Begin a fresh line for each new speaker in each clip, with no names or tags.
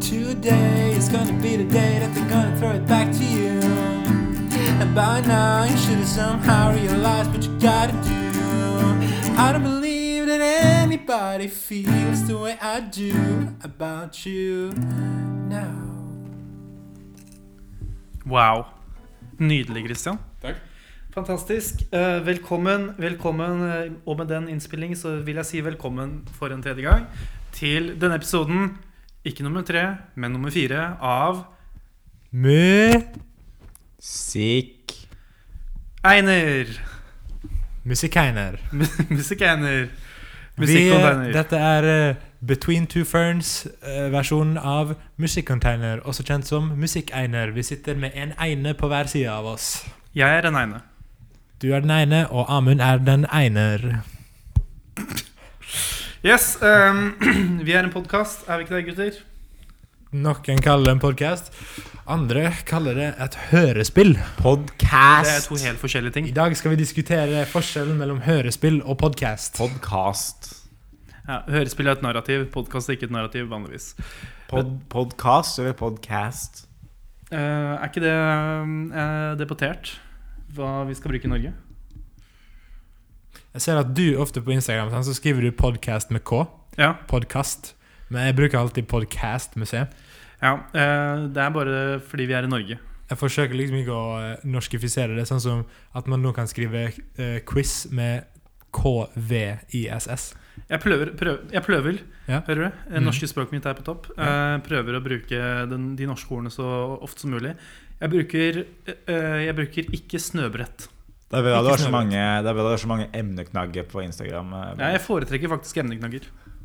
Today is gonna be the day that they're gonna throw it back to you. And by now you should have somehow realized what you gotta do. I don't believe that anybody feels the way I do about you now.
Wow. Nydelig, Christian.
Takk.
Fantastisk. Eh, velkommen, velkommen. eh, Og med den innspilling så vil jeg si velkommen for en tredje gang til denne episoden, ikke nummer tre, men nummer fire, av
Musikk
Einer.
Musikkegner.
Musikkegner.
Vi-
Musikkonteiner.
Dette er eh, Between Two Ferns-versjonen av Musikkcontainer, også kjent som Musikkegner. Vi sitter med en eine på hver side av oss.
Jeg er en eine.
Du er den ene, og Amund er den einer.
Yes. ehm, vi er en podkast, er vi ikke det, gutter?
Noen kaller det en podkast, andre kaller det et hørespill.
Det er
Podcast.
to helt forskjellige ting.
I dag skal vi diskutere forskjellen mellom hørespill og podkast.
Podcast.
Ja, Hørespill er et narrativ, podkast er ikke et narrativ vanligvis.
Pod, podcast eller podcast?
Eh, er ikke det eh, debattert? Hva vi skal bruke i Norge?
Jeg ser at du ofte på Instagram sant, så skriver du 'podkast' med K.
Ja.
Podcast. Men jeg bruker alltid 'podkast' med C.
Ja, eh, det er bare fordi vi er i Norge.
Jeg forsøker liksom ikke å eh, norskifisere det, sånn som at man nå kan skrive eh, quiz med KVISS.
Jeg prøver, prøv, jeg prøver
Ja.
hører du? Det
Mhm.
norske språket mitt er på topp. Eh, prøver å bruke den, de norske ordene så ofte som mulig. Jeg bruker, eh, jeg bruker ikke snøbrett.
Det er bra
Ikke
du har så
snøbrett.
mange, det er bra du har så mange emneknagger på Instagram. eh,
Ja, jeg foretrekker faktisk emneknagger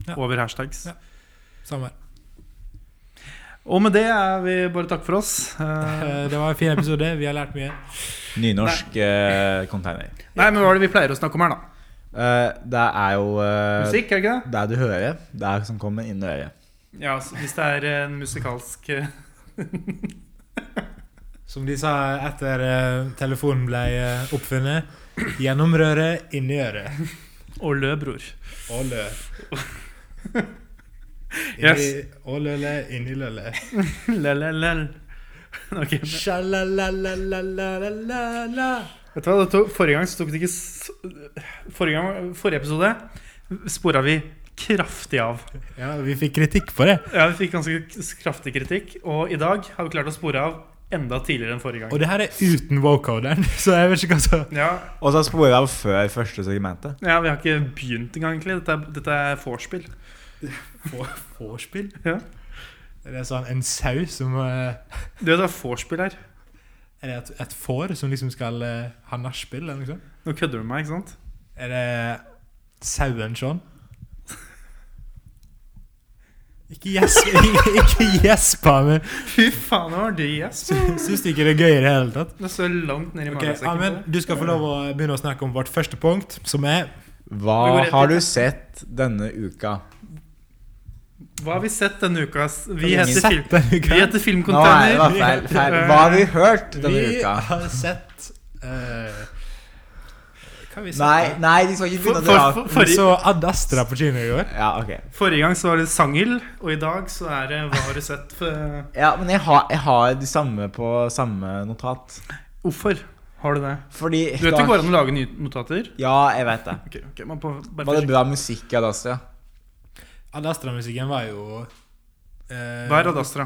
Ja.
over hashtags.
Ja. Samme.
Og med det er vi bare takk for oss. Eh,
Eh, Det var en fin episode. Vi har lært mye.
Nynorsk eh, container.
nei, men hva er det vi pleier å snakke om her, da?
Eh, det er jo eh,
Musikk, er det ikke det?
Det du hører, det er som kommer inn i øret.
Ja, altså, hvis det er en musikalsk eh,
Som de sa etter eh, telefonen ble eh, oppfunnet. Gjennom røret, inn i øret.
Og lø, bror.
Og lø. Inn i-
Yes.
Og løle, inn i løle.
Lelelel. Ok, men-
Sjalalalalala.
Vet du hva, det tok, Forrige gang så tok det ikke s- Forrige, gang, forrige episode spora vi kraftig av.
Ja, vi fikk kritikk for det.
Ja, Vi fikk ganske k- kraftig kritikk, og i dag har vi klart å spore av enda tidligere enn forrige
Og
gang.
det her er uten vocoderen, så jeg vet ikke hva som
Ja,
Og så sporer jeg av før første segmentet.
ja, vi har ikke begynt engang, egentlig. Dette er, dette er vorspiel.
Vorspiel?
Ja.
Er det sånn en sau som eh,
Du vet hva vorspiel er?
Er det et, et får som liksom skal eh, ha nachspiel, eller noe sånt?
Nå kødder du med meg, ikke sant?
Er det sauen sånn? Ikke gjesp, ikke- ikke gjesp av meg!
Fy faen, det var det gjesp.
Syns du ikke det er gøy i det hele tatt?
Det står langt ned i
Ok,
magesekken.
Amund, du skal få lov å begynne å snakke om vårt første punkt, som er
Vi går
Hva
rett
har
inn.
du sett denne uka?
Hva har vi sett denne uka? ass? Vi
Ingen
heter, film, vi heter
Nå er det
Filmcontainer.
var feil, feil. Hva har vi hørt denne
Vi
uka?
har sett eh, Hva har vi sett?
Nei,
da?
nei, de skal ikke
For,
begynne å
for,
dra.
for,
Vi
forrige-
så Ad Astra på kino i går.
Ja, ok.
Forrige gang så var det sangel, og i dag så er det Hva har du sett? eh,
Ja, men jeg har, jeg har de samme på samme notat.
Hvorfor har du det?
Fordi
Du vet
da-
det går an å lage nye notater?
Ja, jeg vet det.
Ok, ok, man på, bare
Var det
forsiktig.
bra musikk av Dastia?
Ad Astra-musikken var jo eh,
Hva er Ad Astra?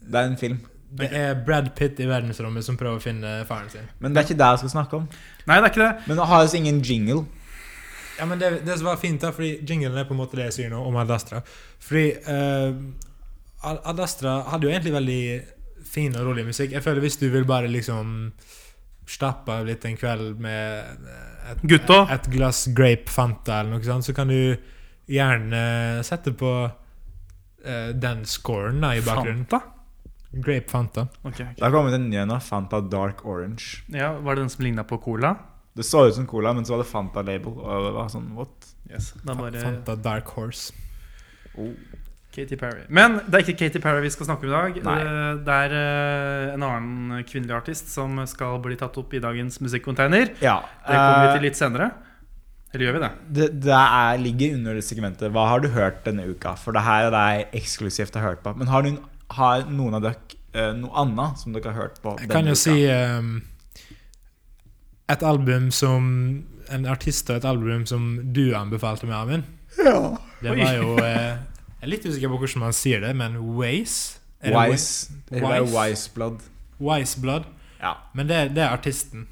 Det er en film.
Det er Brad Pitt i verdensrommet som prøver å finne faren sin.
Men det er ikke det jeg skal snakke om.
Nei, det er ikke det.
Men det har altså ingen jingle.
Ja, men det, det som var fint, da, fordi jinglen er på en måte det jeg sier nå om Ad Astra. Fordi eh, Ad Ad Astra hadde jo egentlig veldig fin og rolig musikk. Jeg føler hvis du vil bare liksom slappe av litt en kveld med eh, et,
Gutta.
et glass grape Fanta eller noe sånt, så kan du gjerne sette på eh, den scoren da, i bakgrunnen.
Fanta?
Grape Fanta.
Ok, ok.
Det har kommet en ny en av Fanta Dark Orange.
Ja, Var det den som ligna på Cola?
Det så ut som Cola, men så var det Fanta-label. Og det var sånn, what?
Yes, det er bare
Fanta Dark Horse.
Katy Perry. Men det er ikke Katy Perry vi skal snakke om i dag.
Nei.
Eh, Det er eh, en annen kvinnelig artist som skal bli tatt opp i dagens musikkcontainer.
Ja.
Det kommer vi
eh,
til litt senere. Eller gjør vi det?
Det, det er, ligger under det segmentet. Hva har du hørt denne uka? For det her er det jeg eksklusivt har hørt på. Men har du en Har noen av dere eh, noe annet som dere har hørt på?
Jeg
denne
kan jo
uka?
si ehm, et album som En artist og et album som du anbefalte meg, Amund.
ja.
Det
Oi.
var jo eh, Jeg er litt usikker på hvordan man sier det, men Waze? Er det
Wise. Eller det er
Wise?
Wiseblood.
Wa- Waze Blood.
Ja.
Men det, det er artisten.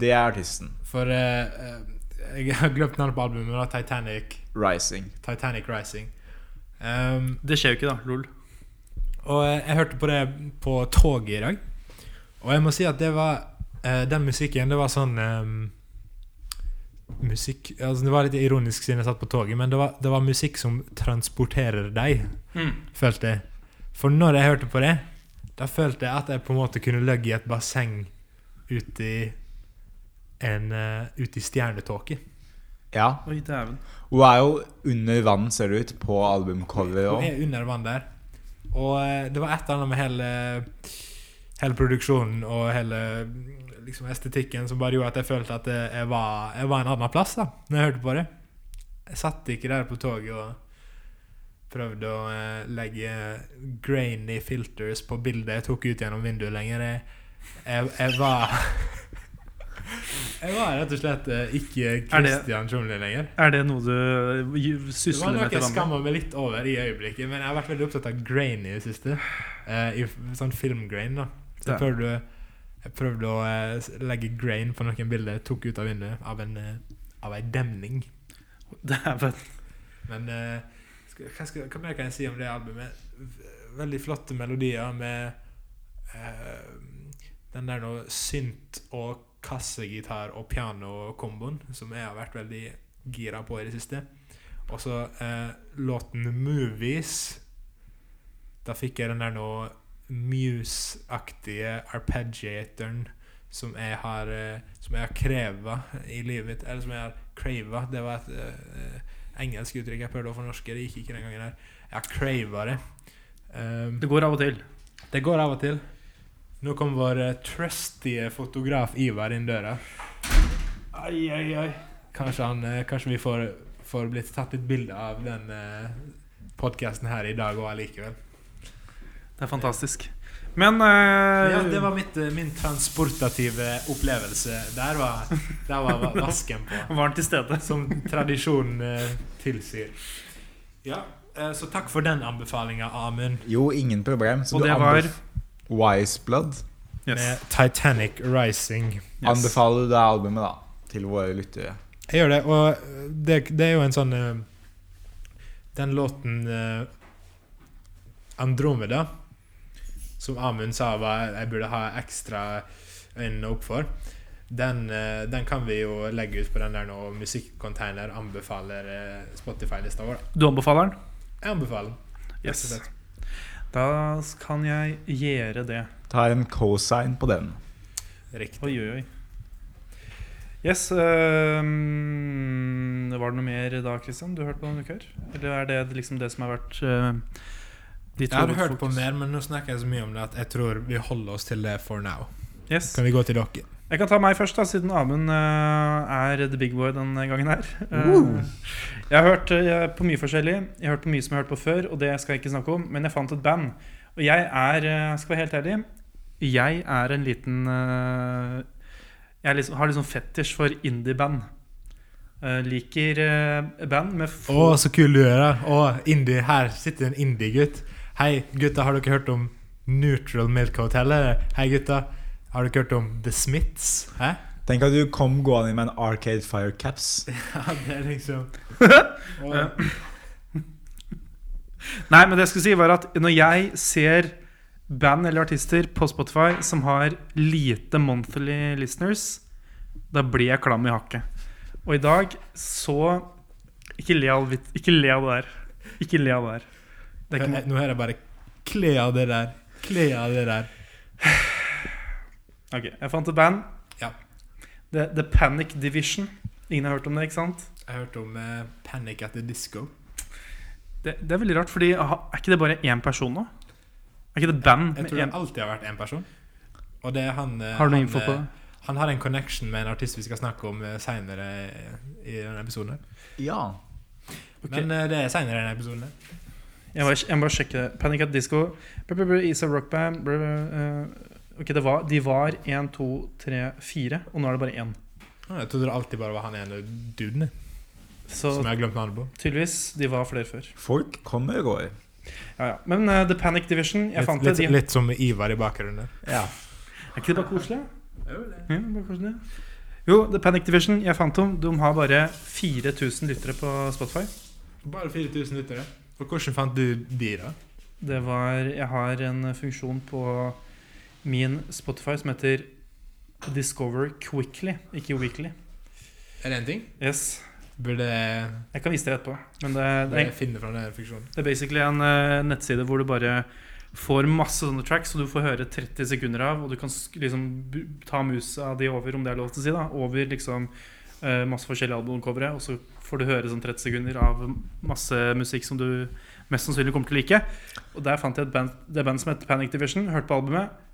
Det er artisten.
For eh, eh, jeg har glemt navnet på albumet. men det var Titanic,
Rising.
Titanic Rising. Ehm,
Det skjer jo ikke, da. Lol.
og eh, jeg hørte på det på toget i dag. Og jeg må si at det var eh, Den musikken, det var sånn ehm, Musikk altså Det var litt ironisk siden jeg satt på toget, men det var, det var musikk som transporterer deg,
Mm.
følte jeg. For når jeg hørte på det, da følte jeg at jeg på en måte kunne ligge i et basseng ute i en eh, Ute i stjernetåke.
Ja.
Oi, dæven.
Hun er jo under vann, ser det ut, på albumcover
Hun
òg.
er under vann der. Og eh, det var et eller annet med hele, hele produksjonen og hele mm, liksom, estetikken som bare gjorde at jeg følte at eh, jeg var, jeg var en annen plass da Når jeg hørte på det. Jeg satt ikke der på toget og prøvde å eh, legge grainy filters på bildet jeg tok ut gjennom vinduet lenger. Jeg, jeg, jeg var Jeg var rett og slett eh, ikke
Er det-
Christian Tjomli lenger.
Er det noe du ju-
Det var
sysler
noe
med til
jeg
vanlig?
skamma meg litt over i øyeblikket, men jeg har vært veldig opptatt av grain i det siste. Eh, I f- sånn filmgrain, da. Så jeg
Ja.
prøvde, jeg prøvde å eh, s- legge grain på noen bilder jeg tok ut av vinduet av en, eh, av ei demning.
Dæven.
Men eh, skal, hva, skal, hva mer kan jeg si om det albumet? V- Veldig flotte melodier med eh, den der nå synt- og kassegitar- og pianokomboen som jeg har vært veldig gira på i det siste. Og så eh, låten 'Movies'. Da fikk jeg den der nå Muse-aktige arpeggiatoren som jeg har eh, Som jeg har kreva i livet mitt. Eller som jeg har crava. Det var et eh, engelsk uttrykk. Jeg prøvde å fornorske det, gikk ikke den gangen her. Jeg har crava det. Um,
Det går av og til.
det går av og til. Nå kom vår eh, trusty fotograf Ivar inn døra.
Ai, ai, ai.
Kanskje, han, eh, kanskje vi får, får blitt tatt litt bilde av den podkasten her i dag òg allikevel.
Det er fantastisk. Men eh,
Ja, det var mitt, eh, min transportative opplevelse. Der var, der var va- vasken på.
var den til stede.
Som tradisjonen eh, tilsier. Ja, eh, så takk for den anbefalinga, Amund.
Jo, ingen problem. Så
Og
du
det var
anbef- Wiseblood.
Yes.
med Titanic Rising.
Yes.
Anbefaler du det albumet, da? Til våre lyttere.
Jeg gjør det, og øh, det, det er jo en sånn øh, Den låten øh, Andromeda, som Amund sa var, jeg burde ha ekstra øynene opp for, den, øh, den kan vi jo legge ut på den der nå. Musikkcontainer anbefaler øh, Spotify-lista vår.
Du anbefaler den?
Jeg anbefaler den. rett og
Yes.
slett.
Da s- kan jeg gjøre det.
Tar en cosign på den.
Riktig.
Oi, oi, oi. Yes. ehm, var det noe mer da, Christian? Du hørte på denne uka? her? Eller er det liksom det som har vært eh, ditt
Jeg har hørt på
hovedfokus?
mer, men nå snakker jeg så mye om det at jeg tror vi holder oss til det for now.
Yes.
Kan vi gå til dere?
Jeg kan ta meg først, da, siden Amund eh, er the big boy denne gangen her. Eh,
Woo!
Jeg har hørt eh, på mye forskjellig. Jeg har hørt på mye som jeg har hørt på før, og det skal jeg ikke snakke om. Men jeg fant et band. Og jeg er, eh, skal være helt ærlig, jeg er en liten eh, Jeg er liksom, har liksom fetisj for indie-band. Eh, liker eh, band med
Å,
få
så kul du er, da. Å, indie. Her sitter en indie-gutt. Hei, gutta, har dere hørt om Neutral Milk Hotel? eller? Hei, gutta. Har dere hørt om The Smiths? Hæ?
Tenk at du kom gående med en Arcade Fire Caps.
Ja, det er liksom
Ja. Nei, men det jeg skulle si var at når jeg ser band eller artister på Spotify som har lite monthly listeners, da blir jeg klam i hakket. Og i dag så Ikke le av, vit- ikke le av det der. Ikke le av det der. Det er ikke
Nå er det bare kle av det der. Kle av det der.
mo- Ok, jeg fant et band.
Ja.
The, The Panic Division. Ingen har hørt om det, ikke sant?
Jeg har hørt om eh, Panic at the Disco.
Det, det er veldig rart, fordi aha, er ikke det bare én person nå? Er ikke det band
Jeg
med
tror det
én
alltid har vært én person. Og det er han eh,
Har du noe
han,
info på
eh,
det?
Han har en connection med en artist vi skal snakke om eh, seinere i denne episoden. her.
Ja.
Ok.
Men eh, det er seinere i denne episoden. her.
Jeg må, jeg må bare sjekke det. Panic at Disco, br- br- br- Isa Rock Band br- br- eh, Ok, det var, de var én, to, tre, fire, og nå er det bare én.
Ja, Jeg trodde det alltid bare var han ene duden jeg,
Så
som jeg har glemt navnet på.
tydeligvis, de var flere før.
Folk kommer og går.
Ja, ja. Men eh, The Panic Division, jeg fant
litt, litt,
det. De,
litt som Ivar i bakgrunnen. der.
Ja.
er ikke det bare koselig? Ja, bare koselig. Jo, The Panic Division, jeg fant dem. De har bare 4000 lyttere på Spotify.
Bare 4000 lyttere. Og hvordan fant du de, da?
Det var Jeg har en funksjon på min Spotify som heter Discover Quickly, ikke Weekly.
Er det en ting?
Yes.
Burde jeg,
Jeg kan vise dere etterpå. Men det,
burde
det,
jeg finne fra den funksjonen?
det er basically en eh, nettside hvor du bare får masse sånne tracks, og du får høre 30 sekunder av, og du kan sk liksom bu- ta musa di over, om det er lov til å si, da, over liksom eh, masse forskjellige albumcovere, og så får du høre sånn 30 sekunder av masse musikk som du mest sannsynlig kommer til å like. Og der fant jeg et band, det band som heter Panic Division, hørte på albumet.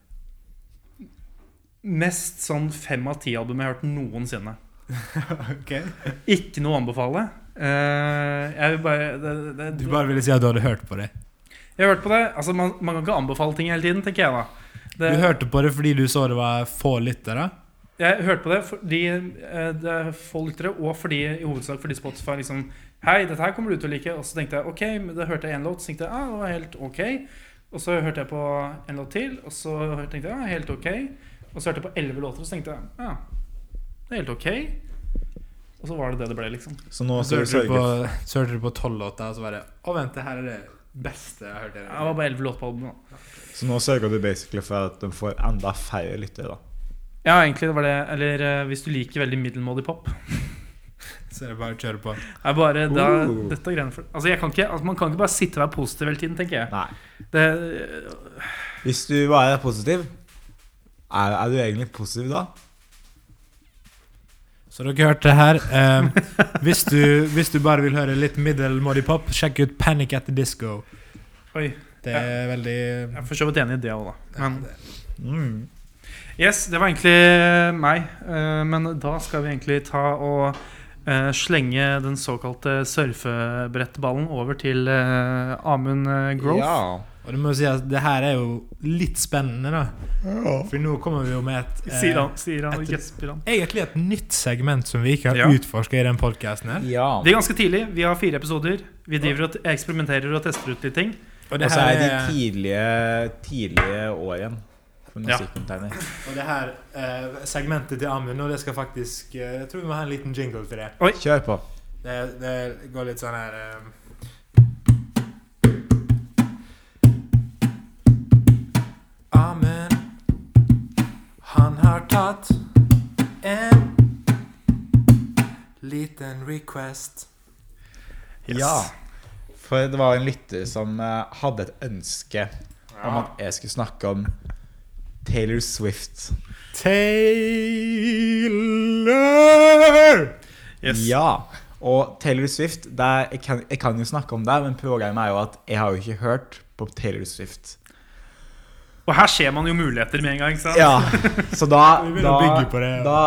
Mest sånn fem av ti album jeg har hørt noensinne.
Ok.
Ikke noe å anbefale. Eh, jeg vil bare det, det,
Du bare ville si at du hadde hørt på det?
Jeg har hørt på det. Altså, man, man kan ikke anbefale ting hele tiden, tenker jeg da.
Du
Det,
hørte på det fordi du så det var få lyttere?
jeg hørte på det fordi eh, det er få lyttere, og fordi, i hovedsak fordi Spotify liksom Hei, dette her kommer du til å like. Og så tenkte jeg OK, men da hørte jeg én låt, så tenkte jeg ah, det var helt OK. Og så hørte jeg på en låt til, og så tenkte jeg ja, helt OK. Og så hørte jeg på elleve låter, og så tenkte jeg ja, det er helt OK. Og så var det det det ble, liksom.
Så nå
Og så
skal
hørte du
vi sørge
på, så hørte du på tolv låter, og så bare Å, vent, det her er det beste jeg har hørt. i
Det
hele
var bare elleve låter på albumet. da.
Så nå sørger du basically for at de får enda færre lyttere. da.
Ja, egentlig det var det. Eller eh, hvis du liker veldig middelmådig pop.
mitt». Så er det bare å kjøre på.
Er bare, da,
Oh.
dette greiene for, altså jeg kan ikke, altså man kan ikke bare sitte og være positiv hele tiden, tenker jeg.
Nei.
Det,
Hvis du bare er positiv, er, er du egentlig positiv da?
Så dere hørte det her. Eh, hvis, du, hvis du bare vil høre litt middelmådig pop, sjekk ut Panic at the Disco.
oi,
Det er veldig
jeg er for så vidt enig i det òg, da. Men
Ja, det-
Mm.
yes, det var egentlig meg. Eh, Men da skal vi egentlig ta og eh, slenge den såkalte surfebrettballen over til eh, Amund eh, Growth.
Ja.
Og det må jo si at det her er jo litt spennende, da. For nå kommer vi jo med et eh,
Sier han, sier han og
etter-
gjesper han.
Egentlig et nytt segment som vi ikke har
Ja.
utforsket utforska i den podkasten her.
ja.
Vi er ganske tidlig. Vi har fire episoder. Vi driver og eksperimenterer og tester ut litt ting.
Og
Og
det
så
her
er de
er,
tidlige, tidlige årene for
Ja.
musikkcontainer.
og det her eh, segmentet til Amund, og det skal faktisk eh, Jeg tror vi må ha en liten jingle til det.
Kjør på.
Det, det går litt sånn her eh, Amund, han har tatt en liten request.
Yes.
Ja. For det var en lytter som eh, hadde et ønske om at jeg skulle snakke om Taylor Swift.
Taylor!
Yes.
Ja. Og Taylor Swift det er, jeg, kan, jeg kan jo snakke om det, men problemet er jo at jeg har jo ikke hørt på Taylor Swift.
Og her ser man jo muligheter med en gang. ikke sant?
Ja, Så da
Vi
da,
begynner å bygge på det, ja.
da,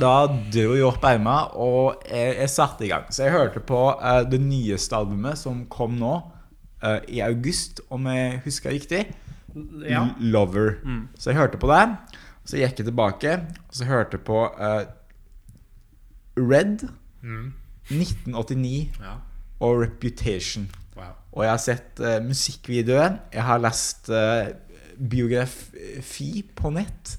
da dro jeg opp erma, og jeg, jeg satte i gang. Så jeg hørte på eh, det nyeste albumet som kom nå, eh, i august, om jeg husker riktig.
Ja.
L- Lover.
Mm.
Så jeg hørte på det. Så gikk jeg tilbake, og så hørte jeg på eh, Red, 1989
Mm, Ja.
og Reputation.
Wow.
Og jeg har sett eh, musikkvideoen. Jeg har lest eh, biografi på nett.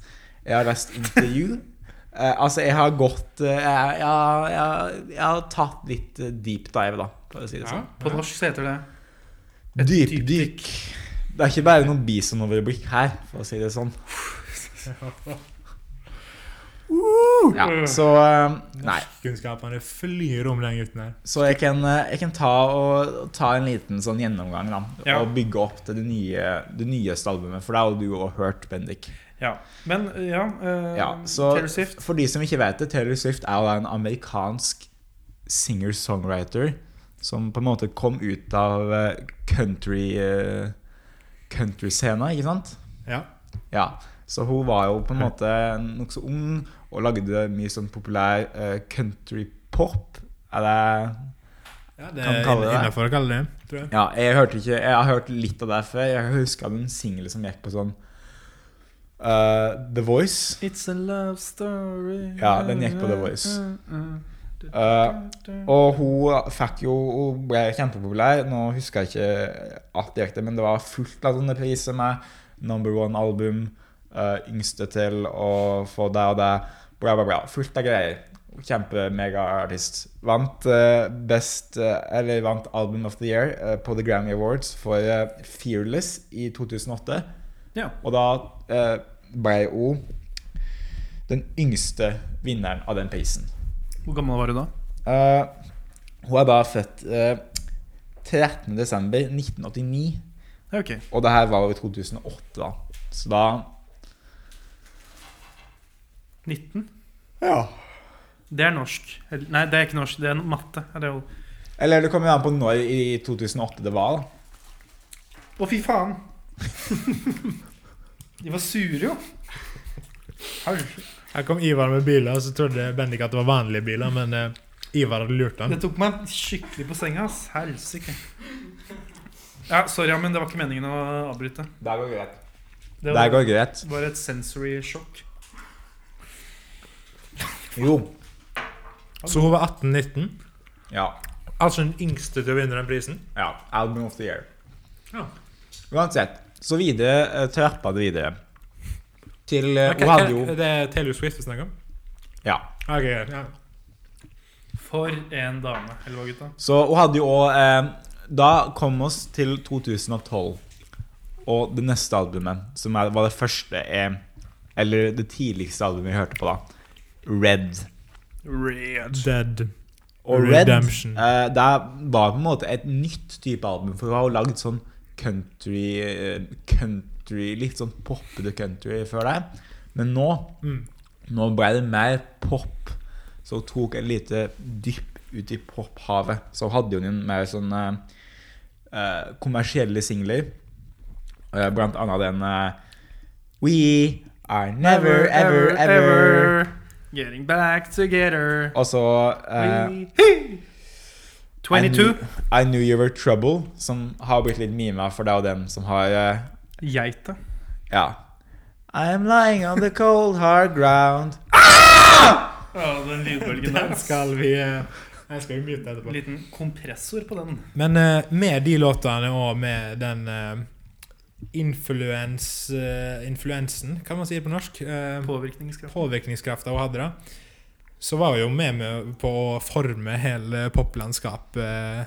Jeg har lest intervju. Eh, altså, jeg har gått eh, jeg, jeg, jeg, jeg har tatt litt eh, deep dive, da, for å si det sånn.
På norsk så heter det
Dypdykk. Det er ikke bare noen bisonoverblikk her, for å si det sånn. Ja, så eh, Nei.
Kunnskapene flyr om den gutten her.
Så jeg kan, eh, jeg kan ta, og, ta en liten sånn gjennomgang da,
Ja.
og bygge opp til det, nye, det nyeste albumet. For det har jo du også hørt, Bendik.
Ja. Men ja, eh,
Ja, så
Taylor Swift
For de som ikke vet det, Taylor Swift er jo da en amerikansk singer-songwriter som på en måte kom ut av eh, country eh, country-scena, ikke sant?
Ja.
Ja, så hun var jo på en måte nokså ung og lagde mye sånn populær eh, country-pop. Er det
Ja, det
Kan
er
kalle det det.
innafor å kalle det det, tror jeg.
Ja, jeg hørte ikke Jeg har hørt litt av det før. Jeg husker en singel som gikk på sånn eh, The Voice.
It's a love story Mm,
Ja, den gikk på The Voice. Eh, Og hun fikk jo Hun ble kjempepopulær. Nå husker jeg ikke alt direkte, men det var fullt av sånne priser med number one-album, eh, yngste til å få det og det, bla, bla, bla. Fullt av greier. Kjempe-mega-artist. Vant eh, best eh, Eller vant Album of the Year eh, på The Grammy Awards for eh, Fearless i 2008.
Ja.
Og da eh, ble hun den yngste vinneren av den prisen.
Hvor gammel var du da?
Eh, hun er da født eh, 13. desember 1989,
Ja, ok
og det her var jo i 2008, da. Så da
19?
Ja.
Det er norsk Eller- Nei, det er ikke norsk, det er matte Er det jo-
Eller det kommer jo an på når i 2008 det var, da.
Å fy faen De var sure jo Herre.
Her kom Ivar med biler, så trodde Bendik at det var vanlige biler, men eh, Ivar hadde lurt han.
Det tok meg skikkelig på senga ass Helsike Ja, sorry, ja, men det var ikke meningen å avbryte
Det går greit.
Det
Det
var,
går greit.
var et sensory sjokk
Jo.
Så hun var 18-19.
Ja.
Altså den yngste til å vinne den prisen.
ja. Album of the year.
Ja.
Uansett, så videre eh, trappa det videre. Til eh,
Hva-
Hun
hva-
hadde jo
Det er Taylor Swift vi snakker om?
Ja.
Ok, ja.
For en dame, eller hva gutta?
Så hun hadde jo òg eh, Da kom oss til 2012 og det neste albumet, som er, var det første eh, Eller det tidligste albumet jeg hørte på, da. Red.
Red
Dead.
Og
Redemption.
Red eh, det var på en måte et nytt type album, for hun har jo lagd sånn country, eh, country Litt sånn poppete country før det. Men nå
Mm.
Nå ble det mer pop, så hun tok et lite dypp ut i pophavet. Så hun hadde jo en mer sånn eh, eh, kommersielle singler, Eh, blant annet den eh, We are never, ever, ever.
Getting back together
Og så eh,
We- 22
I Knew You Were Trouble, som har blitt litt mima, for det er jo den som har eh,
Geita
Ja. I'm lying on the cold hard ground.
Ja, den lydbølgen der
Den
ass.
skal vi eh, Den skal vi mute etterpå.
Liten kompressor på den
Men eh, med de låtene og med den eh, influens, eh, influensen, kan man si det på norsk, eh,
Påvirkningskraft
påvirkningskrafta hun hadde, da, så var hun jo med, med på å forme hele poplandskapet eh,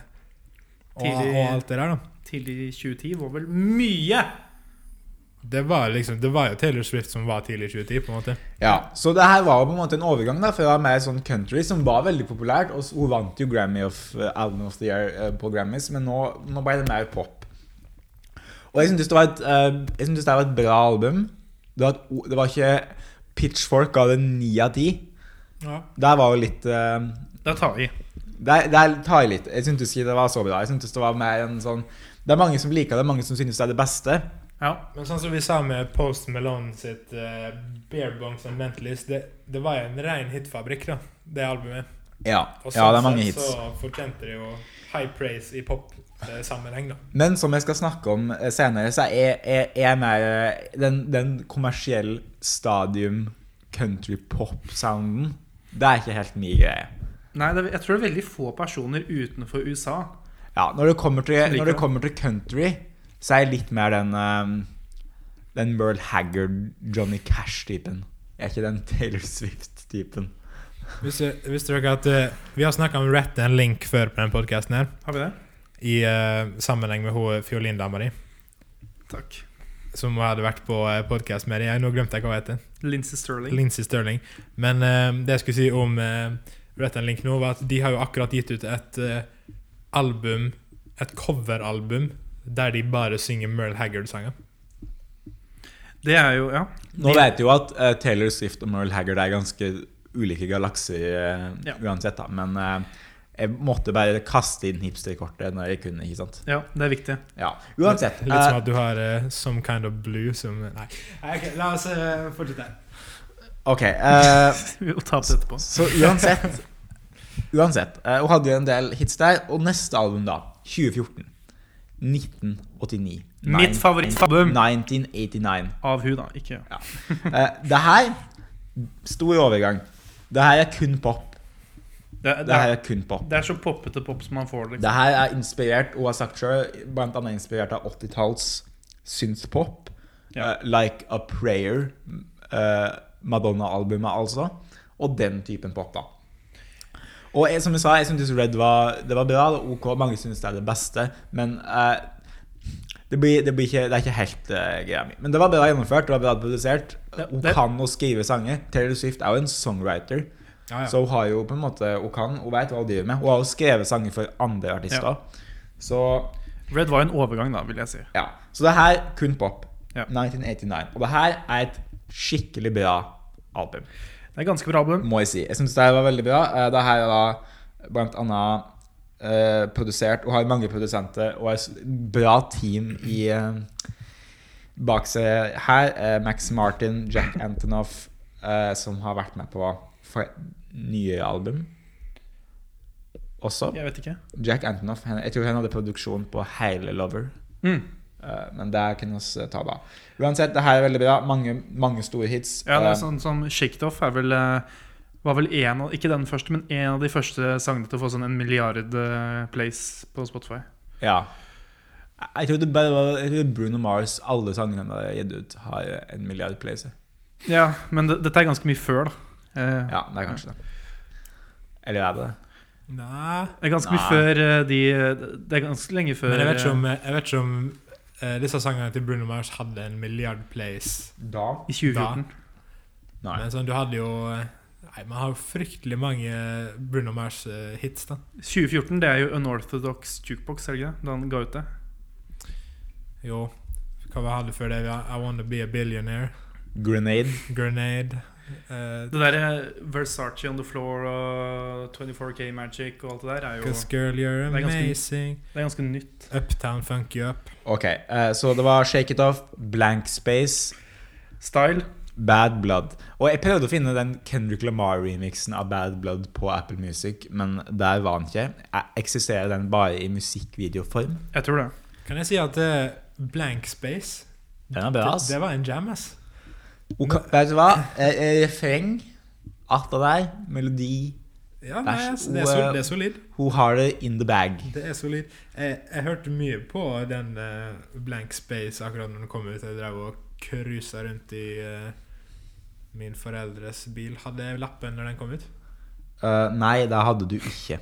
og,
Tidlig-
og alt det der, da.
Tidlig 2010 var vel mye
Det var, liksom, det var jo Taylor Swift som var tidlig i 2010, på en måte.
Ja, så det her var jo på en måte en overgang da fra mer sånn country, som var veldig populært. Og s- hun vant jo Grammy of eh, Album of the Year eh, på Grammys, men nå, nå ble det mer pop. Og jeg syntes det var et, eh, jeg syntes det var et bra album. Det var, et o- det var ikke Pitchfork ga det ni av ti.
Ja.
Der var jo litt eh,
Da tar vi
der, der tar jeg litt. Jeg syntes ikke det var så bra. Jeg syntes det var mer en sånn Det er mange som liker det, mange som synes det er det beste.
Ja
Men sånn som vi sa med Post Malone sitt eh, Bare Bones and Mentalist, det, det var jo en ren hitfabrikk, da, det albumet.
Ja,
Og
ja det
sånn
er mange
sett
hits.
Så fortjente det jo high praise i pop-sammenheng, da.
Men som jeg skal snakke om eh, senere, så er, er, er mer eh, den, den kommersiell stadium country-pop-sounden Det er ikke helt min greie.
Nei, det, er- jeg tror det er veldig få personer utenfor USA
Ja, når det kommer til,
liker
når det
det.
kommer til country, så er jeg litt mer den eh, Den Merle Haggard, Johnny Cash-typen. Jeg er ikke den Taylor Swift-typen.
Visste, visste dere at eh, vi har snakka om Rat and Link før på den podkasten her,
Har vi det?
i eh, sammenheng med hun fiolindama di,
Takk
som hun hadde vært på uh, podkast med. Jeg, nå glemte jeg hva hun heter.
Lindsey Sterling
Lincy Sterling. Men eh, det jeg skulle si om uh, Rat and Link nå, var at de har jo akkurat gitt ut et eh, album, et coveralbum, der de bare synger Merle Haggard-sanger.
Det er jo, ja
Nå vet jeg jo at eh, Taylor Swift og Merle Haggard er ganske ulike galakser eh,
Ja.
uansett, da. Men eh, jeg måtte bare kaste inn hipsterkortet når jeg kunne, ikke sant.
Ja, det er viktig
Ja, Uansett.
Litt som
eh,
at du har eh, Some Kind of Blue som Nei. Ok, la oss eh, fortsette.
ok. eh,
Vi må ta opp det etterpå
så uansett Uansett, eh, hun hadde jo en del hits der. Og neste album, da. 2014. 1989.
Mitt favorittalbum
1989.
av hun, da. Ikke
Eh, det her Stor overgang. Det her er kun pop.
det, det,
Det her
er,
er kun pop.
det er så poppete pop som man får det. Liksom.
Det her er inspirert, hun har sagt sjøl, blant annet inspirert av 80-talls synthpop.
Ja.
eh, like A Prayer, eh, Madonna-albumet, altså. Og den typen pop, da. Og jeg, som jeg sa, jeg syntes Red var, det var bra. Det var ok, mange synes det er det beste. Men eh, det, blir, det, blir ikke, det er ikke helt eh, greia mi. Men det var bra gjennomført, det var bra produsert.
Det-
Hun
det-
kan å skrive sanger. Taylor Swift er jo en songwriter.
Ja, ja.
Så hun har jo på en måte Hun kan, hun vet hva hun driver med. Hun har jo skrevet sanger for andre artister.
Ja.
Så
Red var en overgang, da, vil jeg si.
ja. Så det her kun pop.
Ja.
1989. Og det her er et skikkelig bra album,
Det er et ganske bra album.
må jeg si. Jeg syns det her var veldig bra. Eh, Det her er da blant annet eh, produsert og har mange produsenter og et bra team i eh, bak seg her. Eh, Max Martin, Jack Antonoff, eh, som har vært med på fre- nye album også.
Mm.
Jeg vet ikke.
Jack Antonoff, han- jeg tror han hadde produksjon på hele Lover.
Mm.
Eh, Men det kunne vi ta da. Uansett, det her er veldig bra. Mange, mange store hits.
Ja, det
Eh,
er sånn som Shake It Off er vel eh, var vel en av, ikke den første, men en av de første sangene til å få sånn en milliard eh, plays på Spotify.
ja. Jeg tror, det bare, var- jeg tror Bruno Mars, alle sangene han har gitt ut, har en milliard plays.
Ja, men det, dette er ganske mye før, da. Eh,
Ja, det er kanskje det. Eller er det det?
Nei
Det er ganske mye
Nei.
før eh, de Det er ganske lenge før
Men jeg vet ikke om,
eh,
jeg vet ikke om eh, disse sangene til Bruno Mars hadde en milliard plays.
Da?
eh, i 2014.
Nei.
Men sånn, du hadde jo eh, Nei, man har jo fryktelig mange Bruno Mars-hits, da.
2014 det er jo Unorthodox Jukebox, er det ikke det? Da han ga ut det.
Jo. Hva vi hadde før det? Vi har I Wanna Be A Billionaire.
Grenade.
Grenade. eh,
Det derre Versace On The Floor og 24K Magic og alt det der er jo
Cause girl, you're
Det er ganske-
amazing.
Det er ganske nytt.
Uptown Funk You Up.
Ok, eh, så det var Shake It Off, Blank Space,
Style.
Bad Blood. Og jeg prøvde å finne den Kendrick Lamar-remixen av Bad Blood på Apple Music, men der var han ikke. Eh, Eksisterer den bare i musikkvideoform?
Jeg tror det.
Kan jeg si at eh, Blank Space
Den er
det,
bra, ass.
det var en jam, ass.
Ok, vet du hva? Eh, eh, refreng, alt det der, melodi
Ja,
Det er
nei,
så-
ass, det, er sol, det er solid.
Hun har det in the bag.
Det er solid. Jeg, jeg hørte mye på den eh, Blank Space akkurat når den kom ut. Jeg drev og cruisa rundt i eh, min foreldres bil. Hadde jeg lappen når den kom ut?
Eh, nei, det hadde du ikke.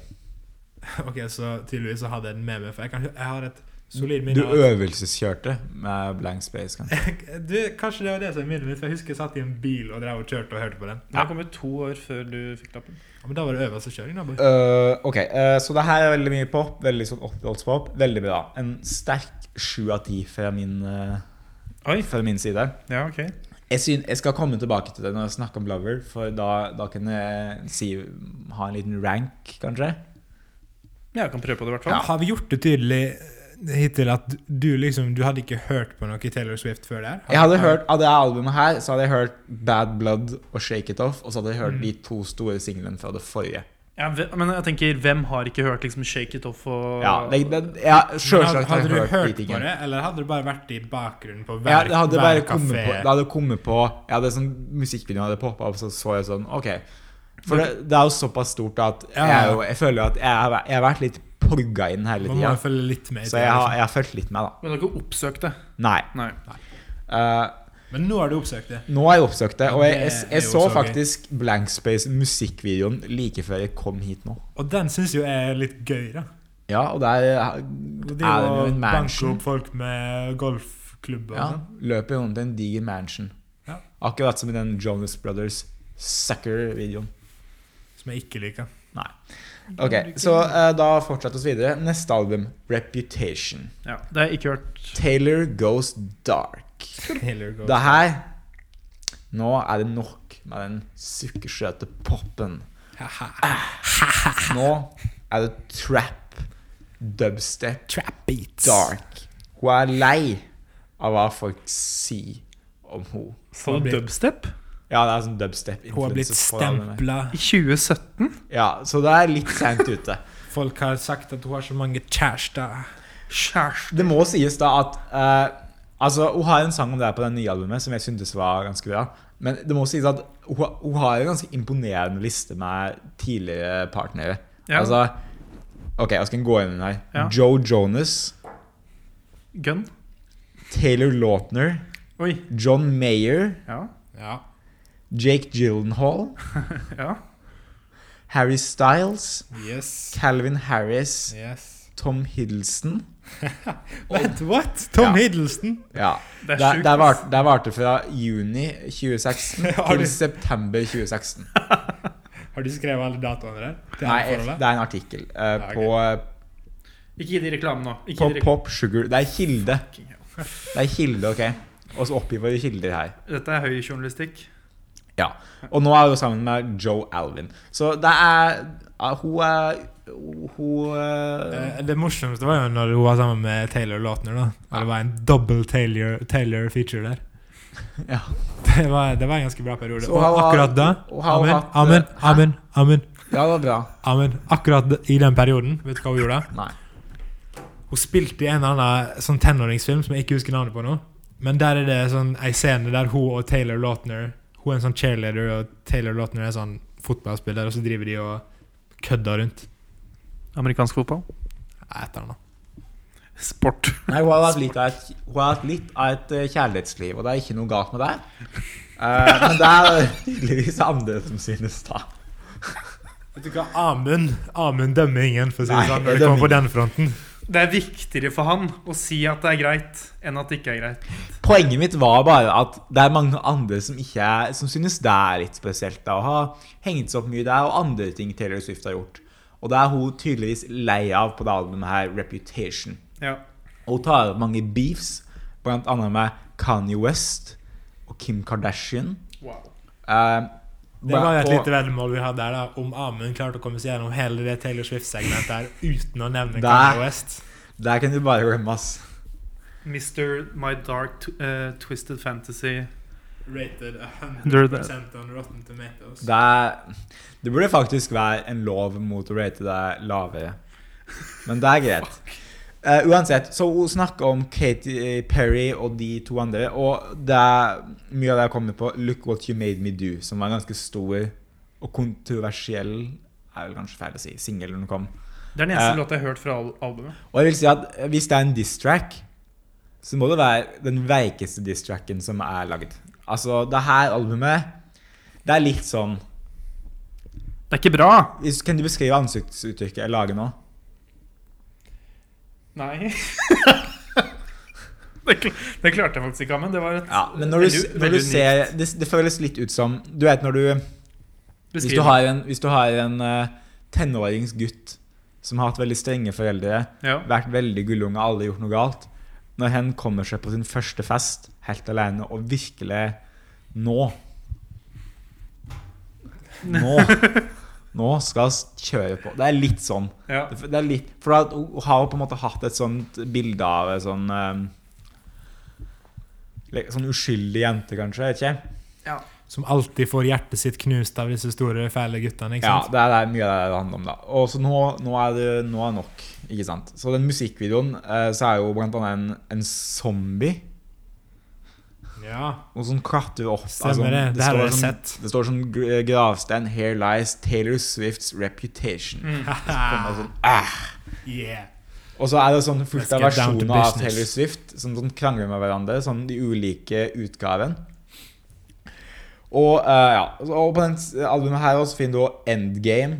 ok, så tydeligvis så hadde jeg den med meg, for jeg, kan, jeg har et solid
Du
minne. av-
øvelseskjørte med Blank Space, kanskje.
du, kanskje det var det som er minnet mitt, for jeg husker jeg satt i en bil og drev og kjørte og hørte på den.
Den har kommet to år før du fikk lappen.
Ja, men da var det øvelseskjøring, da. boy.
Eh, ok, eh, så det her er veldig mye pop. Veldig sånn oppholdspop. Veldig bra. En sterk sju av ti fra, min, eh,
Oi.
fra min side.
Ja, ok.
Jeg, syn, jeg skal komme tilbake til det når jeg snakker om Lover, for da, da kan jeg si, ha en liten rank, kanskje.
Ja, jeg kan prøve på det, i hvert fall.
Ja. Har vi gjort det tydelig eh, hittil at du liksom Du hadde ikke hørt på noe Taylor Swift før der?
Jeg hadde hørt, Av det albumet her så hadde jeg hørt Bad Blood og Shake It Off. Og så hadde jeg hørt
Mm.
de to store singlene fra det forrige.
Ja, ve- men jeg tenker, hvem har ikke hørt liksom Shake It Off og
Ja, det, det, jeg,
Men
Selvsagt har
hadde
jeg
du
hørt, de
på
tingene.
det, eller hadde det bare vært i bakgrunnen på
Ja,
hver,
det hadde
hver
bare kommet
kafé?
på, det hadde kommet på Ja, det er sånn musikkvideoen hadde poppa opp, så så jeg sånn OK. For det, det er jo såpass stort at
Ja,
jeg, er
ja.
jo, jeg føler at jeg, har væ- jeg har vært litt plugga inn hele
Man må
tida.
jo følge litt med. i
Så
det,
jeg har,
liksom.
jeg har fulgt litt med, da.
Men du har ikke oppsøkt det?
Nei.
Nei.
eh,
Men nå har du oppsøkt det.
nå har jeg oppsøkt det, og jeg, jeg,
Det er
jeg
jo
så
så gøy.
faktisk Blank Space, musikkvideoen, like før jeg kom hit nå.
Og den syns jo jeg er litt gøy, da.
Ja, og der er er
Og
det
det er
jo
å
en
banke
mansion.
opp folk med golfklubber og
Ja,
sånn.
løper rundt i en diger mansion.
Ja.
Akkurat som i den Jonas Brothers Sucker-videoen.
Som jeg ikke liker. Mm.
Ok, så eh, da fortsetter vi videre. Neste album, Reputation.
Ja, det har jeg ikke hørt.
Taylor Goes Dark.
Taylor Gold.
Det her Nå er det nok med den sukkersøte popen. Nå er det trap, dubstep,
Trap beats.
dark. Hun er lei av hva folk sier om henne.
Så
Hva blir-
dubstep?
Ja, det er sånn dubstep.
Hun har blitt
influences på albumet.
stempla.
I 2017?
Ja, så det er litt sent ute.
Folk har sagt at hun har så mange kjærester.
Kjæreste
Det må sies da at eh, Altså, hun har en sang om det her på det nye albumet som jeg syntes var ganske bra. Men det må sies at hun, har- hun har en ganske imponerende liste med tidligere partnere.
Ja.
Altså Ok, jeg skal gå inn i den her.
Ja.
Joe Jonas,
Gun?
Taylor Lautner,
Oi.
John Mayer,
Ja.
Ja.
Jake Gyllenhaal,
ja.
Harry Styles,
Yes.
Calvin Harris,
Yes.
Tom Hiddleston
Wait, what? Tom
Ja.
Hiddleston?
Ja.
Det er
Der,
sjukt,
der,
ass.
varte, der varte fra juni 2016
Har du-
til september 2016.
Har du skrevet alle datoene der? Til
Nei,
alle forholdet?
det er en artikkel eh,
ok.
på,
Ikke gi de reklame nå. Ikke
på
gi de
Pop Sugar. Det er kilde.
reklame.
Det er kilde, ok? Og så oppgir vi kilder her.
Dette er høy journalistikk.
Ja. Og nå er hun sammen med Joe Alvin. Så det er ja, Hun er Hun eh,
Eh, Det morsomste var jo når hun var sammen med Taylor Lautner. da Og Det var en double Taylor, Taylor feature der.
Ja.
Det var, det var en ganske bra periode.
Så
Og
har hun-
akkurat da
hun har
Amen,
hatt,
amen,
eh,
amen. amen,
Ja, det var bra.
amen Akkurat d- i den perioden, vet du hva hun gjorde?
Nei.
Hun spilte i en eller annen sånn tenåringsfilm som jeg ikke husker navnet på nå. Men der er det sånn ei scene der hun og Taylor Lautner Hun er en sånn cheerleader, og Taylor Lautner er sånn fotballspiller, og så driver de og kødder rundt.
Amerikansk fotball.
Nei, Et eller annet.
Sport.
Nei, hun har hatt litt av et, hun har hatt litt av et eh, kjærlighetsliv, og det er ikke noe galt med det. Eh, men det er tydeligvis andre som synes, da.
Vet du hva, Amund Amund dømmer ingen, for å si
Nei,
det sånn,
jeg
når det kommer
dømmer
på den fronten.
Det er viktigere for han å si at det er greit, enn at det ikke er greit.
Poenget mitt var bare at det er mange andre som, ikke er, som synes det er litt spesielt da, å ha hengt seg opp mye der, og andre ting Taylor Swift har gjort. Og det er hun tydeligvis lei av på det albumet her, Reputation.
Ja.
Og hun tar opp mange beefs, blant annet med Kanye West og Kim Kardashian.
Wow.
Eh,
Det var jo et
på-
lite veddemål vi hadde der, da, om Amund klarte å komme seg gjennom hele det Taylor Swift-segmentet her uten å nevne
Der.
Kanye West.
Der kan du bare glemme, ass.
Mr. My Dark Tw- eh, Twisted Fantasy.
Rated
100%
on Rotten Tomatoes.
Det, er, det burde faktisk være en lov mot å rate deg lavere. Men det er greit. Eh, uansett, så hun snakker om Katy Perry og de to andre, og det er mye av det jeg kommer på Look What You Made Me Do, som var en ganske stor og kontroversiell er vel kanskje feil å si, singel når den kom.
Det er den eneste
Eh.
låta jeg har hørt fra al- albumet.
Og jeg vil si at eh, hvis det er en diss-track, så må det være den veikeste diss-tracken som er lagd. Altså, det her albumet, det er litt sånn
Det er ikke bra!
Hvis- Kan du beskrive ansiktsuttrykket jeg lager nå?
Nei. det, kl det klarte jeg faktisk ikke, men det var et
Ja, men når du,
veldig-
når du
veldig
ser det, det føles litt ut som Du vet når du
unikt
Hvis du har en, hvis du har en eh, tenåringsgutt som har hatt veldig strenge foreldre,
ja.
vært veldig gullunge, aldri gjort noe galt Når hen kommer seg på sin første fest helt alene og virkelig Nå. Nå. Nå skal vi kjøre på. Det er litt sånn.
ja.
Det er litt, for at hun har jo på en måte hatt et sånt bilde av en sånn eh, le- Sånn uskyldig jente, kanskje. vet ikke?
Som alltid får hjertet sitt knust av disse store, fæle guttene. ikke
Ja,
sant?
Det er, det er mye av det det handler om. da Og så nå, nå er det nå er nok. ikke sant? Så den musikkvideoen eh, så er jo blant annet en, en zombie.
Ja,
Noe som klatrer opp.
Stemmer det. Det her
står
har jeg
sånn-
sett.
Det står sånn gr- gravstein 'Here lies Taylor Swifts reputation'. Kommer sånn, ah.
yeah.
Og så er det sånn fullt
Let's
av
get down to
versjoner av
business.
Taylor Swift som sånn krangler med hverandre, sånn de ulike utgaven. Og eh, ja, og på den s- albumet her også finner du også Endgame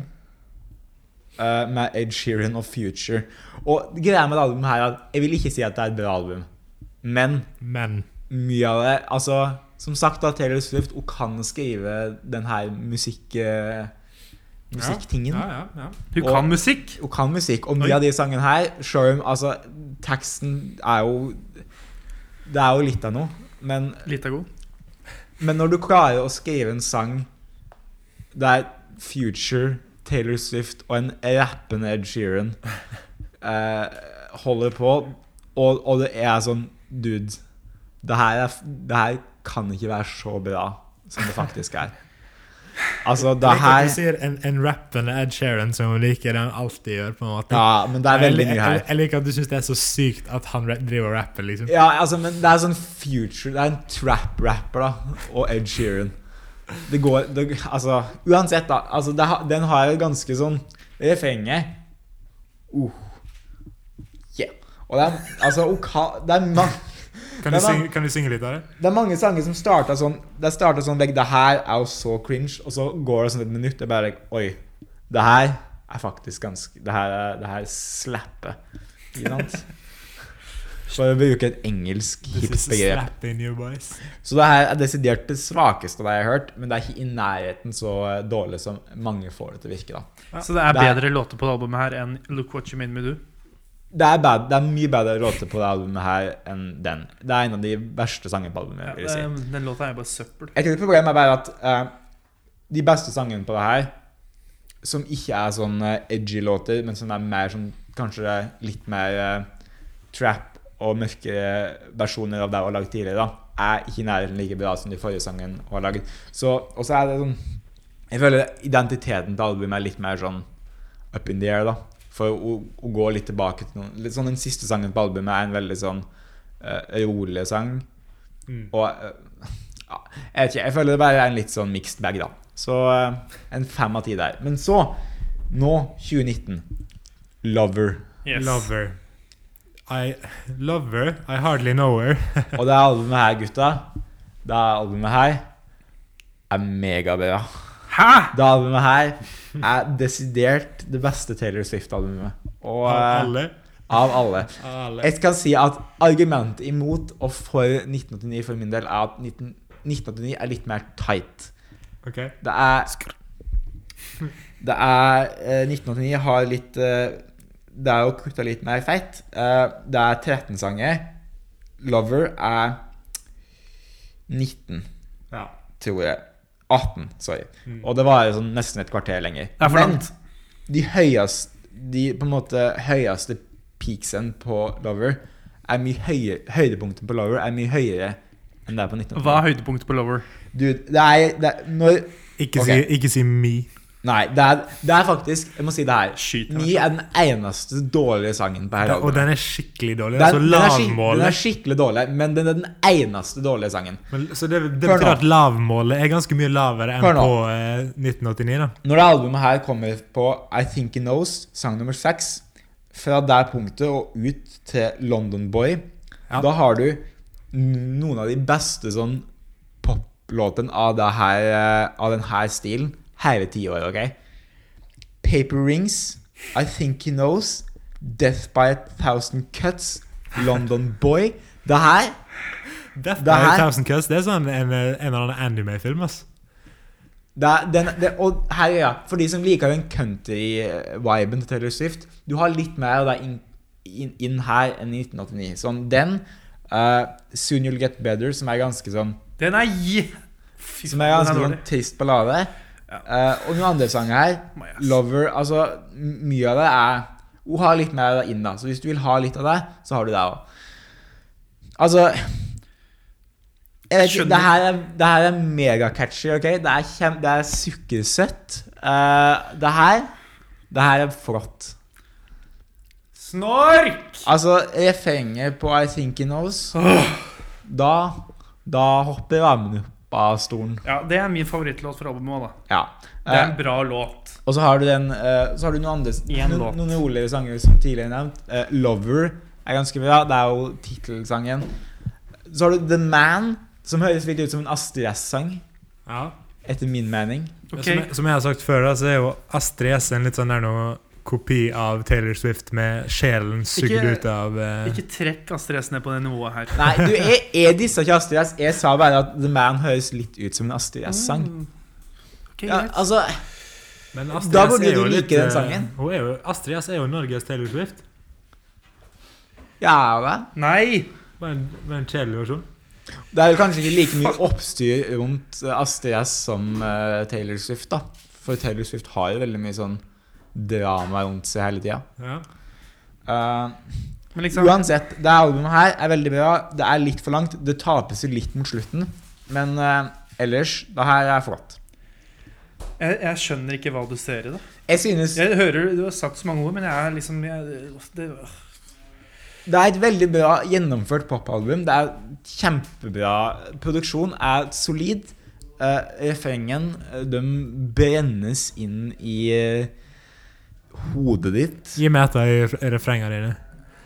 eh, med Ed Sheeran og Future. Og greia med det albumet her er at jeg vil ikke si at det er et bra album, men
Men
mye av det Altså, som sagt, da, Taylor Swift hun kan skrive den her musikk... eh, musikktingen.
Ja, ja, ja.
Hun
Og-
kan musikk!
Hun kan musikk, og mye
Oi.
av de sangene her Show him, altså Teksten er jo Det er jo litt av noe, men,
Litt er god.
men når du klarer å skrive en sang der Future, Taylor Swift og en rappende Ed Sheeran eh, holder på, og, og det er sånn Dude, det her, er, f- det her kan ikke være så bra som det faktisk er. Altså, det
Det her... Du
her
ser en, en rappende Ed Sheeran som liker den alltid gjør, på en måte.
Ja, men det er veldig
jeg,
mye her.
jeg, jeg liker at du syns det er så sykt at han ra- driver og rapper, liksom.
Ja, altså, men det er sånn future Det er en trap-rapper, da. Og Ed Sheeran. Det går det, Altså, uansett, da. Altså, det, ha- den har jo ganske sånn Refrenget uh, yeah. Og det er altså oka, Det er mange
Kan,
Nei,
du
men-
synge, kan du synge litt av det?
Det er mange sanger som starta sånn Det starta sånn like, Det her er jo så cringe, og så går det sånn et minutt, og bare like, Oi. Det her er faktisk ganske Det her, er- det her slapper. Ikke sant? For å bruke et engelsk hipt begrep.
slapping you boys.
Så det her er desidert det svakeste jeg har hørt, men det er ikke i nærheten så dårlig som mange får det til å virke. da
Så det er
Det er-
bedre låter på det albumet her enn Look What You Made Me Do.
Det er, bad, det er mye bedre låter på det albumet her enn den. Det er en av de verste sangene på albumet.
Ja,
vil jeg si
den, den låta er bare søppel.
Jeg tror problemet er bare at eh, de beste sangene på det her, som ikke er sånn eh, edgy låter, men som er mer sånn kanskje litt mer eh, trap og mørkere versjoner av det hun har lagd tidligere, da, er ikke i nærheten like bra som de forrige sangene hun har lagd. Så, og så er det sånn Jeg føler identiteten til albumet er litt mer sånn up in the air, da. For å, å gå litt tilbake til noen litt sånn Den siste sangen på albumet er en veldig sånn eh, rolig sang.
Mm.
Og eh, ja, jeg vet ikke, jeg føler det bare er en litt sånn mixed bag, da. Så eh, en fem av ti der. Men så, nå, 2019. Lover.
Yes.
Lover. I love her, I hardly know her.
Og det albumet her, gutta Det albumet her er megabra.
Hæ?!
Det albumet her er desidert det beste Taylor Swift-albumet. Og
Av
eh,
alle.
av alle.
Av alle.
Jeg kan si at argumentet imot og for 1989 for min del er at 19, 1989 er litt mer tight.
Ok.
Det er Det er eh, 1989 har litt eh, Det er jo kutta litt mer feit. Eh, det er 13 sanger. Lover er 19,
Ja.
tror jeg. 18, sorry.
Mm.
Og det varer sånn nesten et kvarter lenger.
Det er for
Men
langt.
de høyeste De på en måte høyeste peaksen på Lover er mye høyere, høydepunktet på Lover er mye høyere enn det er på 1989.
Hva er høydepunktet på Lover?
Dude, det er, det er Når
Ikke,
Ok.
si, ikke si me.
Nei, det er, det er faktisk Jeg må si det her.
Skyt meg.
Mi er den eneste dårlige sangen på hele
Da, og
albumet.
den er skikkelig dårlig. Den,
Den,
altså
den, er skik- den er
lavmålet.
skikkelig dårlig, men den er den eneste dårlige sangen.
Men, så det, det
Hør nå.
betyr at lavmålet er ganske mye lavere
Hør
enn
nå.
på eh, 1989, da.
Når det albumet her kommer på I Think He Knows, sang nummer seks, fra der punktet og ut til London Boy,
Ja.
da har du n- noen av de beste sånn poplåtene av, det her, eh, av den her stilen hele tiåret, OK? Paper Rings, I Think He Knows, Death by a Thousand Cuts, London Boy. Det her
Death
Det
by a
her-
Thousand Cuts det er sånn en, eh, en eller annen anime-film. ass.
Det er, den, det, og her, ja, for de som liker den country-viben til Taylor Swift Du har litt mer av det inn inn- inn her enn i 1989. Sånn, den eh, Soon You'll Get Better, som er ganske sånn
Den er gi... Fy
Som er ganske
den
sånn trist ballade.
Ja.
Eh, og noen andre sanger her.
My ass.
Lover Altså, m- mye av det er Hun har litt mer av det inn, da. Så hvis du vil ha litt av det, så har du det òg. Altså jeg vet ikke,
Skjønner.
det her er, det her er megacatchy. ok? Det er, kjem, det er sukkersøtt. Eh, det her Det her er flott.
Snork!
Altså, refrenget på I Think He Knows Da Da hopper rammen opp av stolen.
Ja, det er min favorittlåt fra albumet òg, da.
Ja.
Det er
Eh,
en bra låt.
Og så har du, den, eh, så har du noen andre
Én
noen,
låt.
noen roligere sanger som tidligere nevnt. Eh, 'Lover' er ganske bra. Det er jo tittelsangen. Så har du 'The Man', som høres litt ut som en Astrid S-sang,
Ja.
etter min mening.
Ok,
Som, jeg- som jeg har sagt før, da, så er jo Astrid S en litt sånn der noe kopi av Taylor Swift med sjelen sugd
Ikke-
ut av eh,
Ikke trekk Astrid S ned på det nivået her.
Nei, du, jeg, jeg dissa ikke Astrid S. Jeg sa bare at 'The Man' høres litt ut som en Astrid S-sang.
Mm. Ok,
Ja,
greit.
altså,
Men
Da
S
burde
er jo
du
litt,
like den
eh,
sangen.
Hun er jo, Astrid S er jo Norges Taylor Swift.
ja vel.
Nei!
Bare en, bare en kjedelig versjon.
Det er vel kanskje ikke like mye oppstyr rundt eh, Astrid S som eh, Taylor Swift, da. For Taylor Swift har jo veldig mye sånn drama rundt seg hele tida.
Ja.
Uh,
Men liksom
Uansett, det albumet her er veldig bra. Det er litt for langt. Det tapes jo litt mot slutten. Men eh, Ellers, det her er flott.
Jeg, jeg skjønner ikke hva du ser i det.
Jeg synes
Jeg hører Du har sagt så mange ord, men jeg er liksom jeg, det,
Det er et veldig bra gjennomført popalbum. Det er kjempebra produksjon. Er solid. Uh, refrengen eh, de brennes inn i eh, hodet ditt.
Gi meg et av de ref- refrengene dine.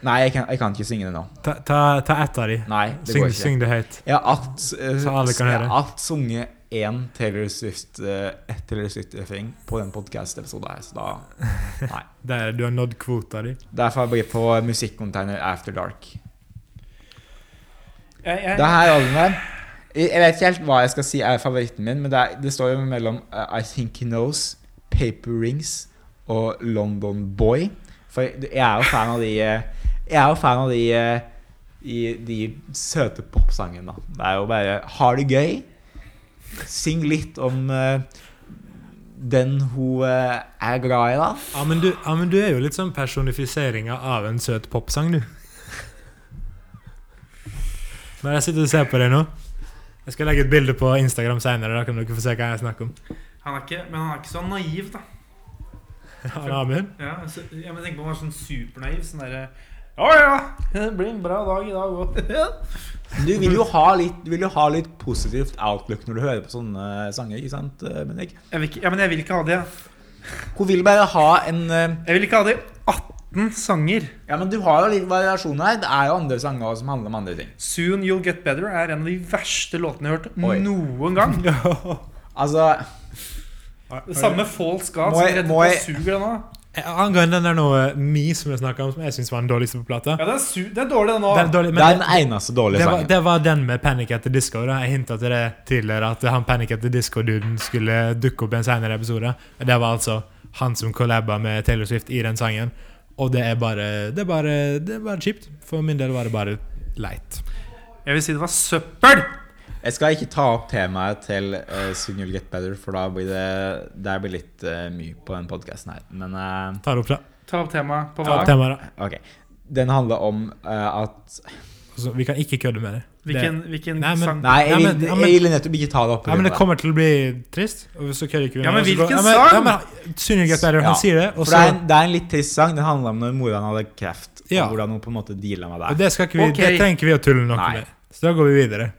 Nei, jeg kan, jeg kan ikke synge det nå.
Ta, ta, ta ett av de.
Nei, det
Syng,
går ikke.
syng det høyt.
Jeg har alt, eh,
Så alle kan
jeg
høre.
har alt sunget én Taylor Swift, eh, ett Taylor Swift-refreng på den podkast-episoden her, så da
Der, du har nådd kvota di.
Derfor blir jeg på Musikkonteiner After Dark.
jeg, jeg,
Det her albumet her Jeg jeg vet ikke helt hva jeg skal si er favoritten min, men det, er, det står jo mellom eh, I Think He Knows, Paper Rings og London Boy. For jeg jeg er jo fan av de eh, Jeg er jo fan av de eh, i de søte popsangene. da. Det er jo bare Ha det gøy. Syng litt om eh, den hun eh, er glad i, da.
Ja, men du, ja, men du er jo litt sånn personifiseringa av en søt popsang, du. Men jeg sitter og ser på deg nå. Jeg skal legge et bilde på Instagram senere, da kan dere få se hva jeg snakker om.
han er ikke, men han er ikke så naiv, da.
Ja, Amund?
Ja, så, jeg må tenke på han er sånn supernaiv. Sånn derre Å ja! Det blir en bra dag i dag òg.
Du vil jo ha litt, du vil jo ha litt positivt outlook når du hører på sånne sanger, ikke sant, eh, Bendik?
Jeg vil ikke, ja, men jeg vil ikke ha det.
Hun vil bare ha en eh,
Jeg vil ikke ha det i 18 sanger.
Ja, men du har jo litt variasjon her. Det er jo andre sanger også som handler om andre ting.
Soon You'll Get Better er en av de verste låtene jeg har hørt
Oi.
noen gang.
Altså,
Det samme False God
Må
som
jeg-
redder
må
på
jeg-
suger den òg.
Eh, Angående den der nå, eh, Me som jeg snakka om, som jeg syns var den dårligste på plata.
Ja, den er, su den er dårlig,
Den
den òg.
dårlig,
det er
men
den eneste dårlige
det var,
sangen.
det var den med Panic at the Disco. da Jeg hinta til det tidligere at han Panic at the Disco-duden skulle dukke opp i en senere episode. Men Det var altså han som collaba med Taylor Swift i den sangen. Og det er bare Det er bare, det er bare kjipt. For min del var det bare leit.
Jeg vil si det var søppel!
Jeg skal ikke ta opp temaet til uh, Soon You'll Get Better, for da blir det der blir litt eh, mye på den podkasten her. Men eh,
Tar opp da.
Ta opp temaet på hva?
Ta opp temaet, da.
OK. Den handler om eh, at
Og så- Vi kan ikke kødde med det.
Hvilken, hvilken
Nei, men-
sang?
Nei, jeg
Ja, men-
vil,
ja, men-
jeg ville nettopp ikke ta det opp.
Ja, men Det
pga.
kommer til å bli trist. Og så kødder ikke vi
Ja, men
det, og så går- ja,
hvilken sang?
men, ja, men, Synner Get Better,
Ja.
han sier det. Og,
For det er, en,
så,
det er en litt trist sang. Den handler om når moren hadde kreft, og
Ja.
hvordan hun på en måte deala med
og
det.
det, skal ikke vi,
Ok.
det trenger ikke vi å tulle noe
Nei.
med. Så da går vi videre.